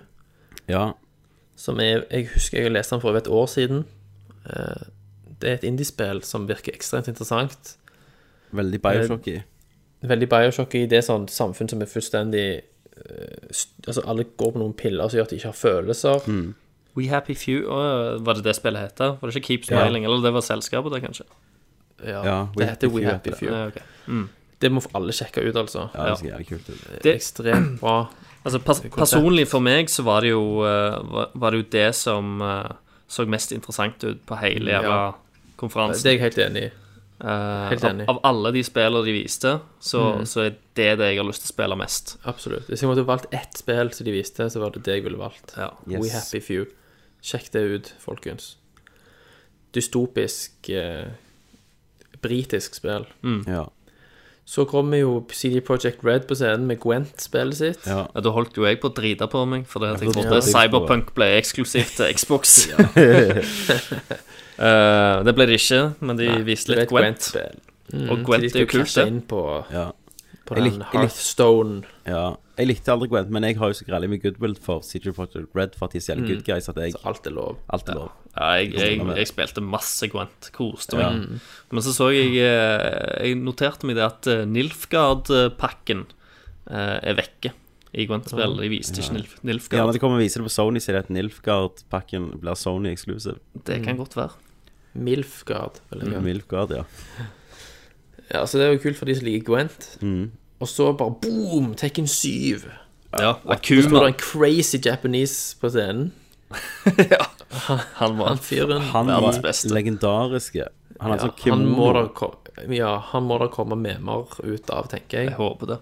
[SPEAKER 4] Ja.
[SPEAKER 5] som er, jeg husker jeg leste den for over et år siden. Eh, Det er et indie-spill som virker ekstremt interessant. Eh,
[SPEAKER 4] Veldig Bioshocky.
[SPEAKER 5] Veldig Bioshock i det sånn samfunn som er fullstendig eh, st- Altså, alle går på noen piller som gjør at de ikke har følelser.
[SPEAKER 4] Mm.
[SPEAKER 6] We Happy Few, øh, var det det spillet het? Var det ikke Keep Smiling? Eller det var selskapet, det, kanskje?
[SPEAKER 5] Ja,
[SPEAKER 4] Ja, We
[SPEAKER 5] det heter
[SPEAKER 4] Happy
[SPEAKER 5] We
[SPEAKER 4] Few
[SPEAKER 5] Happy
[SPEAKER 4] heter det.
[SPEAKER 5] Few.
[SPEAKER 6] Ja, ok.
[SPEAKER 5] Det må alle sjekke ut, altså.
[SPEAKER 4] Ja, det ser jævlig kult ut.
[SPEAKER 5] Det er ekstremt bra.
[SPEAKER 6] Altså, pers personlig for meg så var det jo, øh, var- var det, jo det som øh, så mest interessant ut på hele jævla
[SPEAKER 5] Ja. Det
[SPEAKER 6] konferansen.
[SPEAKER 5] er jeg helt enig i.
[SPEAKER 6] Eh,
[SPEAKER 5] helt
[SPEAKER 6] av,
[SPEAKER 5] enig.
[SPEAKER 6] av alle de spillene de viste, så, så er det det jeg har lyst til å spille mest.
[SPEAKER 5] Absolutt. Hvis jeg måtte valgt ett spill som de viste, så var det det jeg ville valgt.
[SPEAKER 6] Ja.
[SPEAKER 5] We
[SPEAKER 4] Yes.
[SPEAKER 5] Happy Few. Sjekk det ut, folkens. Dystopisk eh, britisk spill.
[SPEAKER 6] Mm.
[SPEAKER 4] Ja.
[SPEAKER 5] Så kommer jo CD Projekt Red på scenen med Gwent-spillet sitt.
[SPEAKER 4] Ja.
[SPEAKER 6] Ja, Da holdt jo jeg på å drite på meg, for det at jeg
[SPEAKER 4] Ja,
[SPEAKER 6] trodde
[SPEAKER 4] det-
[SPEAKER 6] Cyberpunk ble eksklusivt til Xbox. Eh, det ble det ikke, men de viste
[SPEAKER 5] Det er
[SPEAKER 6] litt
[SPEAKER 5] et
[SPEAKER 6] Gwent.
[SPEAKER 5] Gwent-spill.
[SPEAKER 6] Og Gwent er jo kult,
[SPEAKER 5] det.
[SPEAKER 6] det.
[SPEAKER 5] Inn på,
[SPEAKER 4] ja.
[SPEAKER 5] på
[SPEAKER 4] Jeg lik-
[SPEAKER 5] den
[SPEAKER 4] jeg lik-
[SPEAKER 5] Hearthstone.
[SPEAKER 4] ja. Jeg likte aldri Gwent, men jeg har jo så greit mye goodwill for CJ Project Red for at de er så
[SPEAKER 5] Mm.
[SPEAKER 4] jævlig good guys at jeg
[SPEAKER 5] Alt er lov.
[SPEAKER 4] alt er lov.
[SPEAKER 6] Ja, jeg, jeg, jeg spilte masse Gwent, koste meg.
[SPEAKER 5] Mm.
[SPEAKER 6] Men så så jeg eh, Jeg noterte meg det at eh, Nilfgaard-pakken eh, er vekke i Gwent-spill. De viste ikke Nilf
[SPEAKER 4] Ja, når
[SPEAKER 6] Nilfgaard.
[SPEAKER 4] de kommer og viser det på Sony, så er det at Nilfgaard-pakken blir Sony exclusive.
[SPEAKER 6] Det kan godt være.
[SPEAKER 5] Milfgard. vil jeg
[SPEAKER 4] Ja.
[SPEAKER 5] kalle det.
[SPEAKER 4] Nilfgaard, ja.
[SPEAKER 5] Ja, så det er jo kult for de som liker Gwent.
[SPEAKER 4] Mm.
[SPEAKER 5] Og så bare boom! Tekken 7.
[SPEAKER 6] Ja,
[SPEAKER 5] Så står det
[SPEAKER 6] Akuma.
[SPEAKER 5] en crazy Japanese på scenen.
[SPEAKER 6] ja. Han var
[SPEAKER 5] Han fyren
[SPEAKER 4] Han
[SPEAKER 6] Verdens
[SPEAKER 4] var
[SPEAKER 6] beste.
[SPEAKER 4] legendarisk. Han er
[SPEAKER 5] ja,
[SPEAKER 4] sånn
[SPEAKER 5] han, må
[SPEAKER 4] kimono.
[SPEAKER 5] da ko ja, han må da komme memer ut av, tenker
[SPEAKER 6] Jeg
[SPEAKER 5] jeg.
[SPEAKER 6] håper det.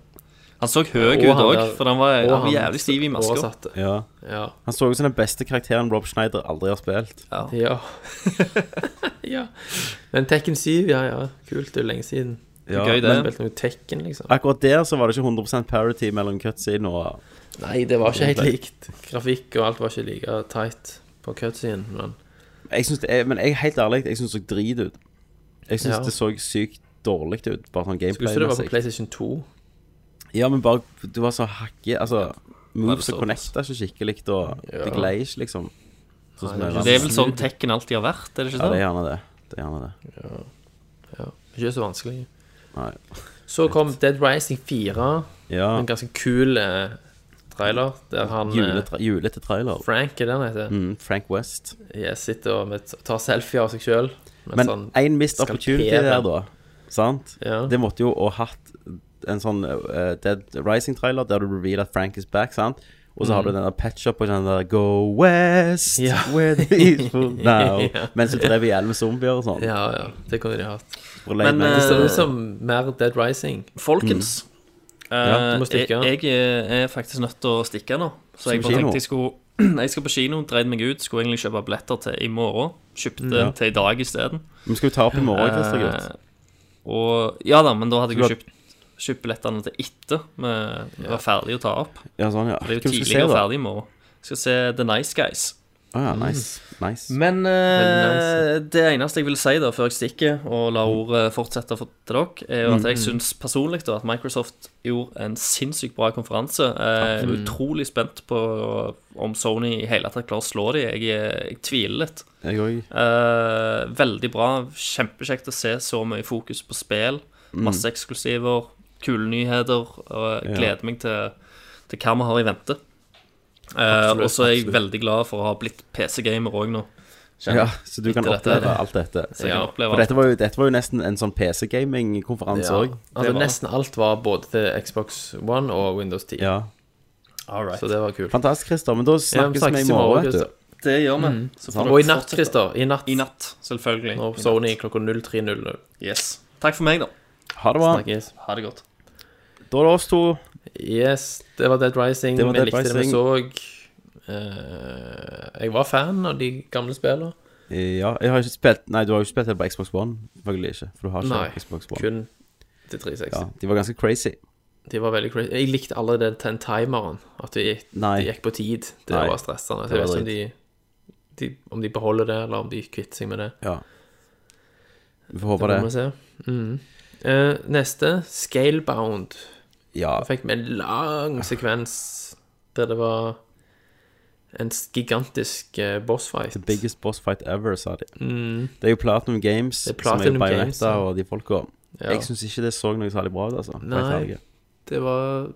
[SPEAKER 6] Han så høy ut
[SPEAKER 5] Og han
[SPEAKER 6] òg,
[SPEAKER 5] der-
[SPEAKER 6] for han var,
[SPEAKER 5] og
[SPEAKER 6] han var
[SPEAKER 5] han
[SPEAKER 6] jævlig stiv i maska.
[SPEAKER 5] oversatte.
[SPEAKER 4] Ja.
[SPEAKER 5] Ja.
[SPEAKER 4] Han så ut som den beste karakteren Rob Schneider aldri har spilt.
[SPEAKER 5] Ja. ja. Men Tekken 7, ja ja. Kult, det er jo lenge siden.
[SPEAKER 4] Ja,
[SPEAKER 6] Gøy det.
[SPEAKER 4] men
[SPEAKER 5] Spilt noe Tekken, liksom.
[SPEAKER 4] Akkurat der så var det ikke 100 parity mellom cutscene og
[SPEAKER 5] Nei, det var ikke helt likt. Grafikk og alt var ikke like tight på cutscene, men
[SPEAKER 4] jeg synes det er, Men jeg, helt ærlig, jeg syns det så drit ut. Jeg syns
[SPEAKER 5] Ja.
[SPEAKER 4] det så sykt dårlig ut, bare sånn
[SPEAKER 5] Skulle ikke det være på
[SPEAKER 4] gameplay-messig.
[SPEAKER 5] PlayStation 2?
[SPEAKER 4] Ja, men bare Du var så hakke Altså, moves
[SPEAKER 6] såpass?
[SPEAKER 4] og connecta ikke skikkelig, og det glei ikke, liksom. Sånn som
[SPEAKER 5] det
[SPEAKER 6] Det
[SPEAKER 4] det
[SPEAKER 6] er vel sånn Tekken alltid har vært, er det
[SPEAKER 4] Ja,
[SPEAKER 6] ikke
[SPEAKER 4] det er
[SPEAKER 6] det?
[SPEAKER 4] gjerne det. Det er gjerne det.
[SPEAKER 5] Ja. Ikke så vanskelig.
[SPEAKER 4] Nei.
[SPEAKER 5] Så kom Dead Rising 4.
[SPEAKER 4] Ja.
[SPEAKER 5] En ganske kul eh, trailer der han eh,
[SPEAKER 4] Juletre- Julete trailer.
[SPEAKER 5] Frank er det han heter.
[SPEAKER 4] Mm, Frank West.
[SPEAKER 5] Jeg sitter og med, tar selfie av seg sjøl.
[SPEAKER 4] Men én missed
[SPEAKER 5] sånn skalpere.
[SPEAKER 4] opportunity der, da. Sant?
[SPEAKER 5] Ja.
[SPEAKER 4] Det måtte jo å ha hatt en sånn eh, Dead Rising-trailer der du revealer at Frank is back, sant? Og så har du den der patch-up og den der Go west
[SPEAKER 5] Mm. Ja.
[SPEAKER 4] where the evil now
[SPEAKER 5] Ja.
[SPEAKER 4] Mens du drev i hjel med zombier og sånn.
[SPEAKER 5] Ja, ja. Det kunne de hatt.
[SPEAKER 4] Og late
[SPEAKER 6] Men,
[SPEAKER 4] night.
[SPEAKER 5] Det ser ut som mer Dead Rising.
[SPEAKER 6] Folkens.
[SPEAKER 4] Mm.
[SPEAKER 5] Ja, du må
[SPEAKER 6] eh,
[SPEAKER 5] stikke.
[SPEAKER 6] jeg, jeg er faktisk nødt til å stikke nå. Så jeg
[SPEAKER 4] på
[SPEAKER 6] bare
[SPEAKER 4] kino?
[SPEAKER 6] tenkte jeg skulle Jeg skal på kino, dreide meg ut, skulle egentlig kjøpe billetter til i morgen.
[SPEAKER 4] Mm,
[SPEAKER 6] Kjøpte til i dag isteden.
[SPEAKER 4] Vi skal jo ta opp i morgen, Christer Gutt.
[SPEAKER 6] Eh, og Ja da, men da hadde jeg jo
[SPEAKER 4] Skulle
[SPEAKER 6] kjøpt, kjøpt billettene til etter vi var ferdig å ta opp.
[SPEAKER 4] Ja, sånn, ja.
[SPEAKER 6] Det er jo
[SPEAKER 4] Hvem skal vi
[SPEAKER 6] tidligere
[SPEAKER 4] da?
[SPEAKER 6] ferdig i morgen. Skal se The Nice Guys.
[SPEAKER 4] Å ja, nice. nice.
[SPEAKER 6] Men eh,
[SPEAKER 5] nice.
[SPEAKER 6] det eneste jeg vil si da, før jeg stikker og lar ordet fortsette for, til dere, er jo at jeg syns personlig da, at Microsoft gjorde en sinnssykt bra konferanse. Eh, Jeg er utrolig spent på om Sony i hele tatt klarer å slå dem. Jeg, er- jeg tviler litt.
[SPEAKER 4] Jeg òg.
[SPEAKER 6] Eh, veldig bra. Kjempekjekt å se så mye fokus på spill. Masse eksklusiver, kule nyheter. Og jeg
[SPEAKER 4] Ja.
[SPEAKER 6] gleder meg til, til hva vi har i vente. Eh, og så er jeg veldig glad for å ha blitt PC-gamer òg nå.
[SPEAKER 4] Ja, så du kan
[SPEAKER 6] Etter dette-
[SPEAKER 4] oppleve alt dette.
[SPEAKER 6] jeg kan
[SPEAKER 4] Ja.
[SPEAKER 6] oppleve
[SPEAKER 4] For dette var, jo, dette var jo nesten en sånn PC-gaming-konferanse òg.
[SPEAKER 5] Altså,
[SPEAKER 6] Det var-
[SPEAKER 5] nesten alt var både til Xbox One og Windows 10.
[SPEAKER 4] Ja.
[SPEAKER 5] Så det var kult.
[SPEAKER 4] Fantastisk, Christer. Men da snakkes vi i morgen, vet du.
[SPEAKER 6] Det gjør vi. Så får dere
[SPEAKER 5] Mm. Og i natt,
[SPEAKER 6] fortsette.
[SPEAKER 5] Christer. I natt.
[SPEAKER 6] I natt, selvfølgelig.
[SPEAKER 5] Når Sony klokka 03.00.
[SPEAKER 6] Yes. Takk for meg, da.
[SPEAKER 4] Ah. Ha det bra.
[SPEAKER 5] Snakkes.
[SPEAKER 6] Ha det godt.
[SPEAKER 4] Da er det oss to.
[SPEAKER 5] Yes, det var Dead Rising.
[SPEAKER 4] Det var
[SPEAKER 5] vi
[SPEAKER 4] Dead
[SPEAKER 5] likte det vi
[SPEAKER 4] Rising.
[SPEAKER 5] så. Eh, jeg var fan av de gamle spillene.
[SPEAKER 4] Ja, jeg har ikke spilt Nei, du har jo ikke spilt det på Xbox One. Selvfølgelig ikke. For du har ikke
[SPEAKER 5] Nei,
[SPEAKER 4] Xbox One.
[SPEAKER 5] kun til 360.
[SPEAKER 4] Ja, de var ganske crazy.
[SPEAKER 5] De var veldig crazy. Jeg likte allerede den timeren. At de,
[SPEAKER 4] Nei.
[SPEAKER 5] de gikk på tid. Det
[SPEAKER 4] Nei.
[SPEAKER 5] var stressende. Så
[SPEAKER 4] Det
[SPEAKER 5] jeg
[SPEAKER 4] var
[SPEAKER 5] vet ikke om de, de, om de beholder det, eller om de kvitter seg med det.
[SPEAKER 4] Ja. Vi får håpe
[SPEAKER 5] Det
[SPEAKER 4] det.
[SPEAKER 5] får vi se. Mhm. Eh, neste, Scalebound.
[SPEAKER 4] Ja.
[SPEAKER 5] Da fikk vi en lang sekvens der det var en s- gigantisk eh, bossfight.
[SPEAKER 4] The biggest boss fight ever, sa de. Det er jo Platinum Games
[SPEAKER 5] Mm. Det er
[SPEAKER 4] som er
[SPEAKER 5] Platinum
[SPEAKER 4] jo
[SPEAKER 5] Games,
[SPEAKER 4] Bayonetta
[SPEAKER 5] ja.
[SPEAKER 4] og de folka.
[SPEAKER 5] Ja.
[SPEAKER 4] Jeg syns ikke det så noe særlig bra ut, altså.
[SPEAKER 5] Nei. Det var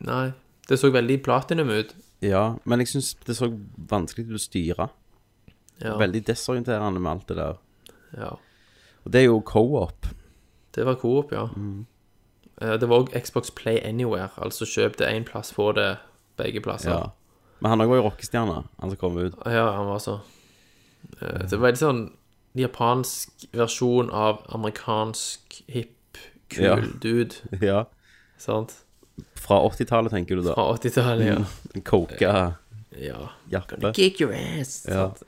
[SPEAKER 5] Nei. Det så veldig platinum ut.
[SPEAKER 4] Ja, men jeg syns det så vanskelig ut å styre.
[SPEAKER 5] Ja.
[SPEAKER 4] Veldig desorienterende med alt det der.
[SPEAKER 5] ja.
[SPEAKER 4] Og det er jo co-op.
[SPEAKER 5] Det var Coop, ja.
[SPEAKER 4] Mm.
[SPEAKER 5] Eh, det var òg Xbox Play Anywhere. Altså kjøp det én plass, få det begge plasser. Ah,
[SPEAKER 4] Ja. Men han òg var jo rockestjerne, han som kom ut.
[SPEAKER 5] Ja, han var så Eh, Det var veldig sånn japansk versjon av amerikansk hipp, kul
[SPEAKER 4] Ja.
[SPEAKER 5] dude,
[SPEAKER 4] Ja.
[SPEAKER 5] sant?
[SPEAKER 4] Fra 80-tallet, tenker du da.
[SPEAKER 5] Fra 80-tallet,
[SPEAKER 4] Mm.
[SPEAKER 5] ja.
[SPEAKER 4] Coka
[SPEAKER 5] ja.
[SPEAKER 4] jappe.
[SPEAKER 5] Kick your ass!
[SPEAKER 4] Ja.
[SPEAKER 5] Sant?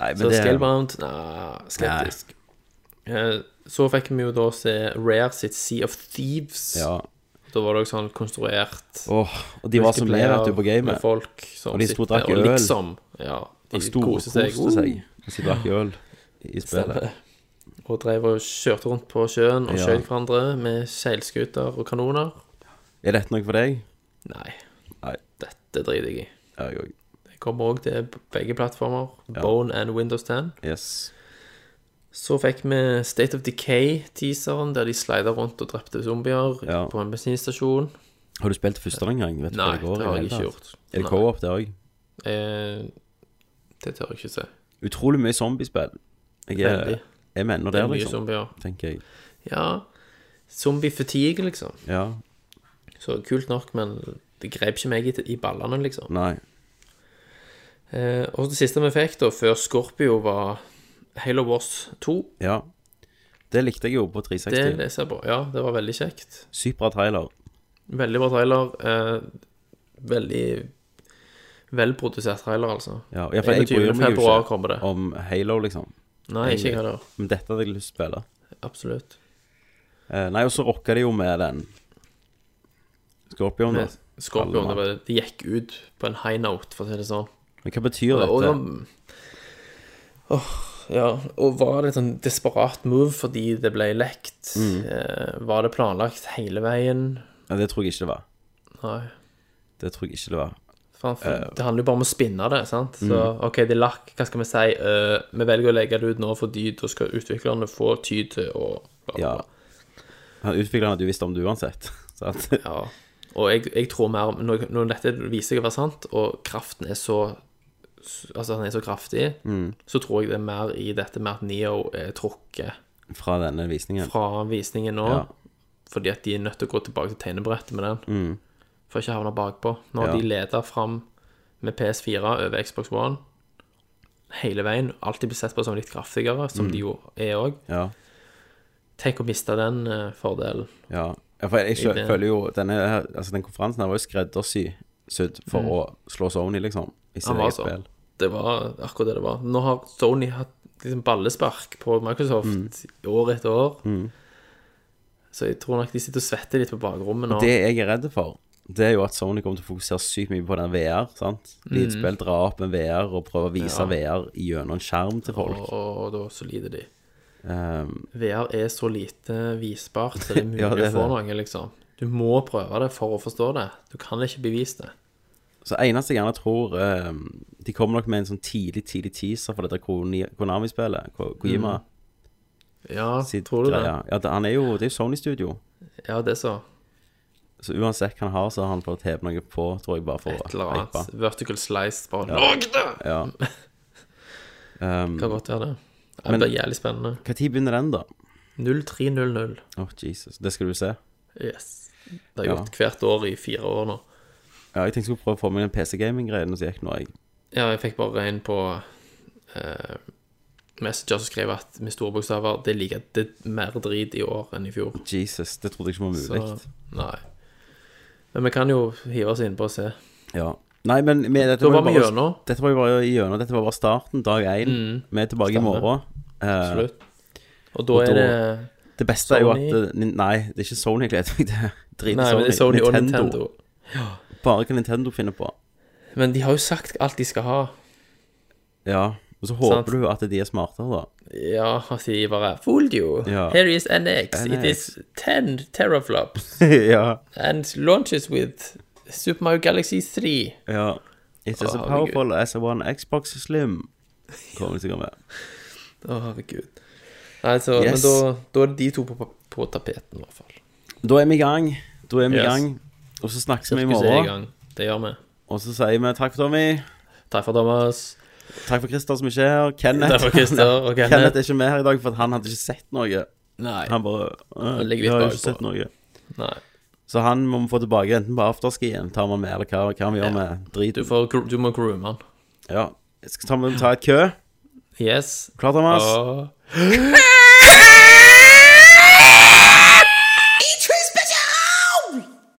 [SPEAKER 4] Nei, men
[SPEAKER 5] Så
[SPEAKER 4] det-
[SPEAKER 5] Scalebound nah, Skeptisk. Eh, Så fikk vi jo da se Rare sitt Sea of Thieves.
[SPEAKER 4] Ja.
[SPEAKER 5] Da var det også sånn konstruert
[SPEAKER 4] Åh, og de var som med, vet du, på
[SPEAKER 5] med
[SPEAKER 4] gamet.
[SPEAKER 5] folk som
[SPEAKER 4] Og de sto og
[SPEAKER 5] sitter
[SPEAKER 4] drakk
[SPEAKER 5] og
[SPEAKER 4] øl.
[SPEAKER 5] liksom Ja, de
[SPEAKER 4] Og storkoste
[SPEAKER 5] koser seg.
[SPEAKER 4] seg. Mens de drakk øl i spillet.
[SPEAKER 5] Stemmer. Og drev og kjørte rundt på sjøen og
[SPEAKER 4] Ja.
[SPEAKER 5] skjøt hverandre med seilskuter og kanoner.
[SPEAKER 4] Er dette noe for deg?
[SPEAKER 5] Nei.
[SPEAKER 4] Nei.
[SPEAKER 5] Dette driter jeg i.
[SPEAKER 4] Ja, jeg òg.
[SPEAKER 5] Det kommer òg til begge plattformer. Bone and Windows 10.
[SPEAKER 4] Yes.
[SPEAKER 5] Så fikk vi State of Decay-teaseren, der de slider rundt og drepte zombier
[SPEAKER 4] Ja.
[SPEAKER 5] på en bensinstasjon.
[SPEAKER 4] Har du spilt første den gang? Vet du hva
[SPEAKER 5] Nei,
[SPEAKER 4] det går i
[SPEAKER 5] det har
[SPEAKER 4] hele
[SPEAKER 5] jeg ikke
[SPEAKER 4] tatt?
[SPEAKER 5] gjort.
[SPEAKER 4] Er det
[SPEAKER 5] Nei.
[SPEAKER 4] co-op, det òg?
[SPEAKER 5] Eh, det tør jeg ikke se.
[SPEAKER 4] Utrolig mye zombiespill. Jeg er,
[SPEAKER 5] Veldig.
[SPEAKER 4] jeg mener
[SPEAKER 5] Det
[SPEAKER 4] det,
[SPEAKER 5] er mye
[SPEAKER 4] liksom.
[SPEAKER 5] zombier.
[SPEAKER 4] Tenker jeg.
[SPEAKER 5] Ja, zombie-fatigue, liksom.
[SPEAKER 4] Ja.
[SPEAKER 5] Så kult nok, men det grep ikke meg i, i ballene, liksom.
[SPEAKER 4] Nei.
[SPEAKER 5] Eh, og det siste vi fikk, da, før Scorpio, var Halo Wars 2.
[SPEAKER 4] Ja. Det likte jeg jo på
[SPEAKER 5] Det
[SPEAKER 4] 360.
[SPEAKER 5] leser jeg på. Ja, det var veldig kjekt.
[SPEAKER 4] Supra trailer.
[SPEAKER 5] Veldig bra trailer. Eh, veldig velprodusert trailer, altså.
[SPEAKER 4] Ja, ja, for jeg bryr
[SPEAKER 5] 21.
[SPEAKER 4] meg jo
[SPEAKER 5] februar
[SPEAKER 4] ikke
[SPEAKER 5] kommer det.
[SPEAKER 4] om Halo, liksom.
[SPEAKER 5] Nei, ikke jeg heller.
[SPEAKER 4] Men dette hadde jeg lyst til å spille.
[SPEAKER 5] Absolutt.
[SPEAKER 4] Eh, nei, og så rocka de jo med den Scorpion.
[SPEAKER 5] Men
[SPEAKER 4] da.
[SPEAKER 5] Scorpion,
[SPEAKER 4] Alle
[SPEAKER 5] det, var- det gikk ut på en high note, for å si det sånn.
[SPEAKER 4] Men hva betyr
[SPEAKER 5] Og,
[SPEAKER 4] dette?
[SPEAKER 5] Åh, ja, og var det et sånn desperat move fordi det ble lekt?
[SPEAKER 4] Mm.
[SPEAKER 5] Eh, var det planlagt hele veien?
[SPEAKER 4] Ja, det tror jeg ikke det var.
[SPEAKER 5] Nei.
[SPEAKER 4] Det tror jeg ikke det var.
[SPEAKER 5] Faen, for,
[SPEAKER 4] Eh.
[SPEAKER 5] det handler jo bare om å spinne det, sant? Så
[SPEAKER 4] Mm.
[SPEAKER 5] OK, det lakk, hva skal vi si? Eh, vi velger å legge det ut nå fordi da skal utviklerne få tid til å bla, bla,
[SPEAKER 4] Ja.
[SPEAKER 5] bla.
[SPEAKER 4] Han Utvikleren hadde jo visst om det uansett. Så at,
[SPEAKER 5] Ja. Og jeg, jeg tror mer om- når, når dette viser seg å være sant, og kraften er så Altså, den er så kraftig,
[SPEAKER 4] Mm.
[SPEAKER 5] så tror jeg det er mer i dette med at Neo er trukket
[SPEAKER 4] fra denne visningen.
[SPEAKER 5] fra visningen nå.
[SPEAKER 4] Ja.
[SPEAKER 5] Fordi at de er nødt til å gå tilbake til tegnebrettet med den. For ikke å havne bakpå. Nå har
[SPEAKER 4] Mm. Ja.
[SPEAKER 5] de leda fram med PS4 over Xbox One hele veien. Alltid blitt sett på som litt kraftigere,
[SPEAKER 4] Mm.
[SPEAKER 5] som de jo er òg.
[SPEAKER 4] Ja.
[SPEAKER 5] Tenk å miste den eh, fordelen.
[SPEAKER 4] Ja, ja for jeg, skjø-
[SPEAKER 5] Ideen.
[SPEAKER 4] føler jo denne, her- altså, Den konferansen her var jo skreddersydd for å slå Sony, liksom, i sitt
[SPEAKER 5] Mm. Han var
[SPEAKER 4] eget
[SPEAKER 5] så.
[SPEAKER 4] spill.
[SPEAKER 5] Det var akkurat det det var. Nå har Sony hatt liksom ballespark på
[SPEAKER 4] Mm.
[SPEAKER 5] Microsoft år etter år. Så jeg tror nok de sitter og svetter litt på bakrommet nå.
[SPEAKER 4] Det jeg er redd for, det er jo at Sony kommer til å fokusere sykt mye på den VR. sant?
[SPEAKER 5] Mm.
[SPEAKER 4] Lydspill, dra opp en VR og prøve å vise VR gjennom en skjerm til folk.
[SPEAKER 5] og, og da så lider de.
[SPEAKER 4] Ehm,
[SPEAKER 5] VR er så lite visbart, så det er mulig
[SPEAKER 4] Ja, det er
[SPEAKER 5] å få
[SPEAKER 4] det.
[SPEAKER 5] noe, liksom. Du må prøve det for å forstå det. Du kan ikke bevise det.
[SPEAKER 4] så eneste jeg gjerne tror ehm, De kommer nok med en sånn tidlig tidlig teaser for dette Koni- Konami-spillet. Ko- Kojima
[SPEAKER 5] Ja,
[SPEAKER 4] sitt
[SPEAKER 5] Mm. tror du
[SPEAKER 4] greie. Ja, det, han er jo, det er jo Sony-studio.
[SPEAKER 5] det? Ja, det så.
[SPEAKER 4] Så uansett hva han har, så har han fått hevet noe på, tror jeg, bare for
[SPEAKER 5] Et eller
[SPEAKER 4] hype.
[SPEAKER 5] annet. Vertical slice, bare Lag det!
[SPEAKER 4] Ja. Um,
[SPEAKER 5] Kan godt være det. Ja,
[SPEAKER 4] Men-
[SPEAKER 5] Det blir jævlig spennende.
[SPEAKER 4] hva tid begynner den, da?
[SPEAKER 5] 0300.
[SPEAKER 4] Åh, Jesus. Det skal du se.
[SPEAKER 5] Yes. Det har jeg
[SPEAKER 4] Ja.
[SPEAKER 5] gjort hvert år i fire år nå.
[SPEAKER 4] Ja, jeg tenkte jeg skulle prøve å få meg den PC-gaming-greien, og så gikk nå jeg
[SPEAKER 5] Ja, jeg fikk bare en på eh, Messenger som skrev at med store bokstaver Det er like, det er mer drit i år enn i fjor.
[SPEAKER 4] Jesus, det trodde jeg ikke var
[SPEAKER 5] Så
[SPEAKER 4] mulig.
[SPEAKER 5] nei. Men vi kan jo hive oss innpå og se.
[SPEAKER 4] Ja. Nei, men med, dette,
[SPEAKER 5] Da var
[SPEAKER 4] jo
[SPEAKER 5] vi gjennom. Mm.
[SPEAKER 4] dette var jo bare gjennom. Dette var bare starten, dag én. Vi er tilbake i
[SPEAKER 5] Stemmer.
[SPEAKER 4] morgen. Eh,
[SPEAKER 5] Absolutt. Og da
[SPEAKER 4] og
[SPEAKER 5] er
[SPEAKER 4] da-
[SPEAKER 5] det
[SPEAKER 4] det beste er jo
[SPEAKER 5] Sony.
[SPEAKER 4] at det- Nei, det er ikke Sony jeg gleder meg til. Drit i
[SPEAKER 5] Nei, men det er Sony og Nintendo.
[SPEAKER 4] Bare hva Nintendo finner på.
[SPEAKER 5] Men de har jo sagt alt de skal ha.
[SPEAKER 4] Ja. Og så håper
[SPEAKER 5] Sant.
[SPEAKER 4] du at de er smartere, da.
[SPEAKER 5] Ja, han sier bare Fooled you.
[SPEAKER 4] Ja.
[SPEAKER 5] Here is NX. It
[SPEAKER 4] NX.
[SPEAKER 5] is 10 teraflops
[SPEAKER 4] ja.
[SPEAKER 5] and launches with Super Mario Galaxy 3.
[SPEAKER 4] Ja. It's as
[SPEAKER 5] Å, herregud.
[SPEAKER 4] powerful as a one Xbox Slim. Kommer det sikkert med.
[SPEAKER 5] Å, herregud. Nei, så,
[SPEAKER 4] Yes.
[SPEAKER 5] Men da, da er de to på, på tapeten, i hvert fall.
[SPEAKER 4] Da er vi i gang. Da er vi i
[SPEAKER 5] Yes.
[SPEAKER 4] gang. Og så snakkes vi i
[SPEAKER 5] Sirkuset er i
[SPEAKER 4] morgen.
[SPEAKER 5] gang. Det gjør vi.
[SPEAKER 4] Og så sier vi takk for Tommy.
[SPEAKER 5] Takk for Thomas.
[SPEAKER 4] Takk for Christer som ikke er her. Kenneth.
[SPEAKER 5] Takk for Christer og
[SPEAKER 4] Kenneth
[SPEAKER 5] Kenneth.
[SPEAKER 4] er ikke med her i dag, for at han hadde ikke sett noe.
[SPEAKER 5] Nei.
[SPEAKER 4] Han bare øh,
[SPEAKER 5] Han ligger litt
[SPEAKER 4] jeg har
[SPEAKER 5] bakpå.
[SPEAKER 4] ikke sett noe.
[SPEAKER 5] Nei.
[SPEAKER 4] Så han må vi få tilbake enten på afterskien, tar vi med, eller hva, hva vi gjør med drit.
[SPEAKER 5] Du, får, gro- du må groome han.
[SPEAKER 4] Ja. Skal ta, ta et kø.
[SPEAKER 5] Yes.
[SPEAKER 4] Klar, Thomas?
[SPEAKER 5] Og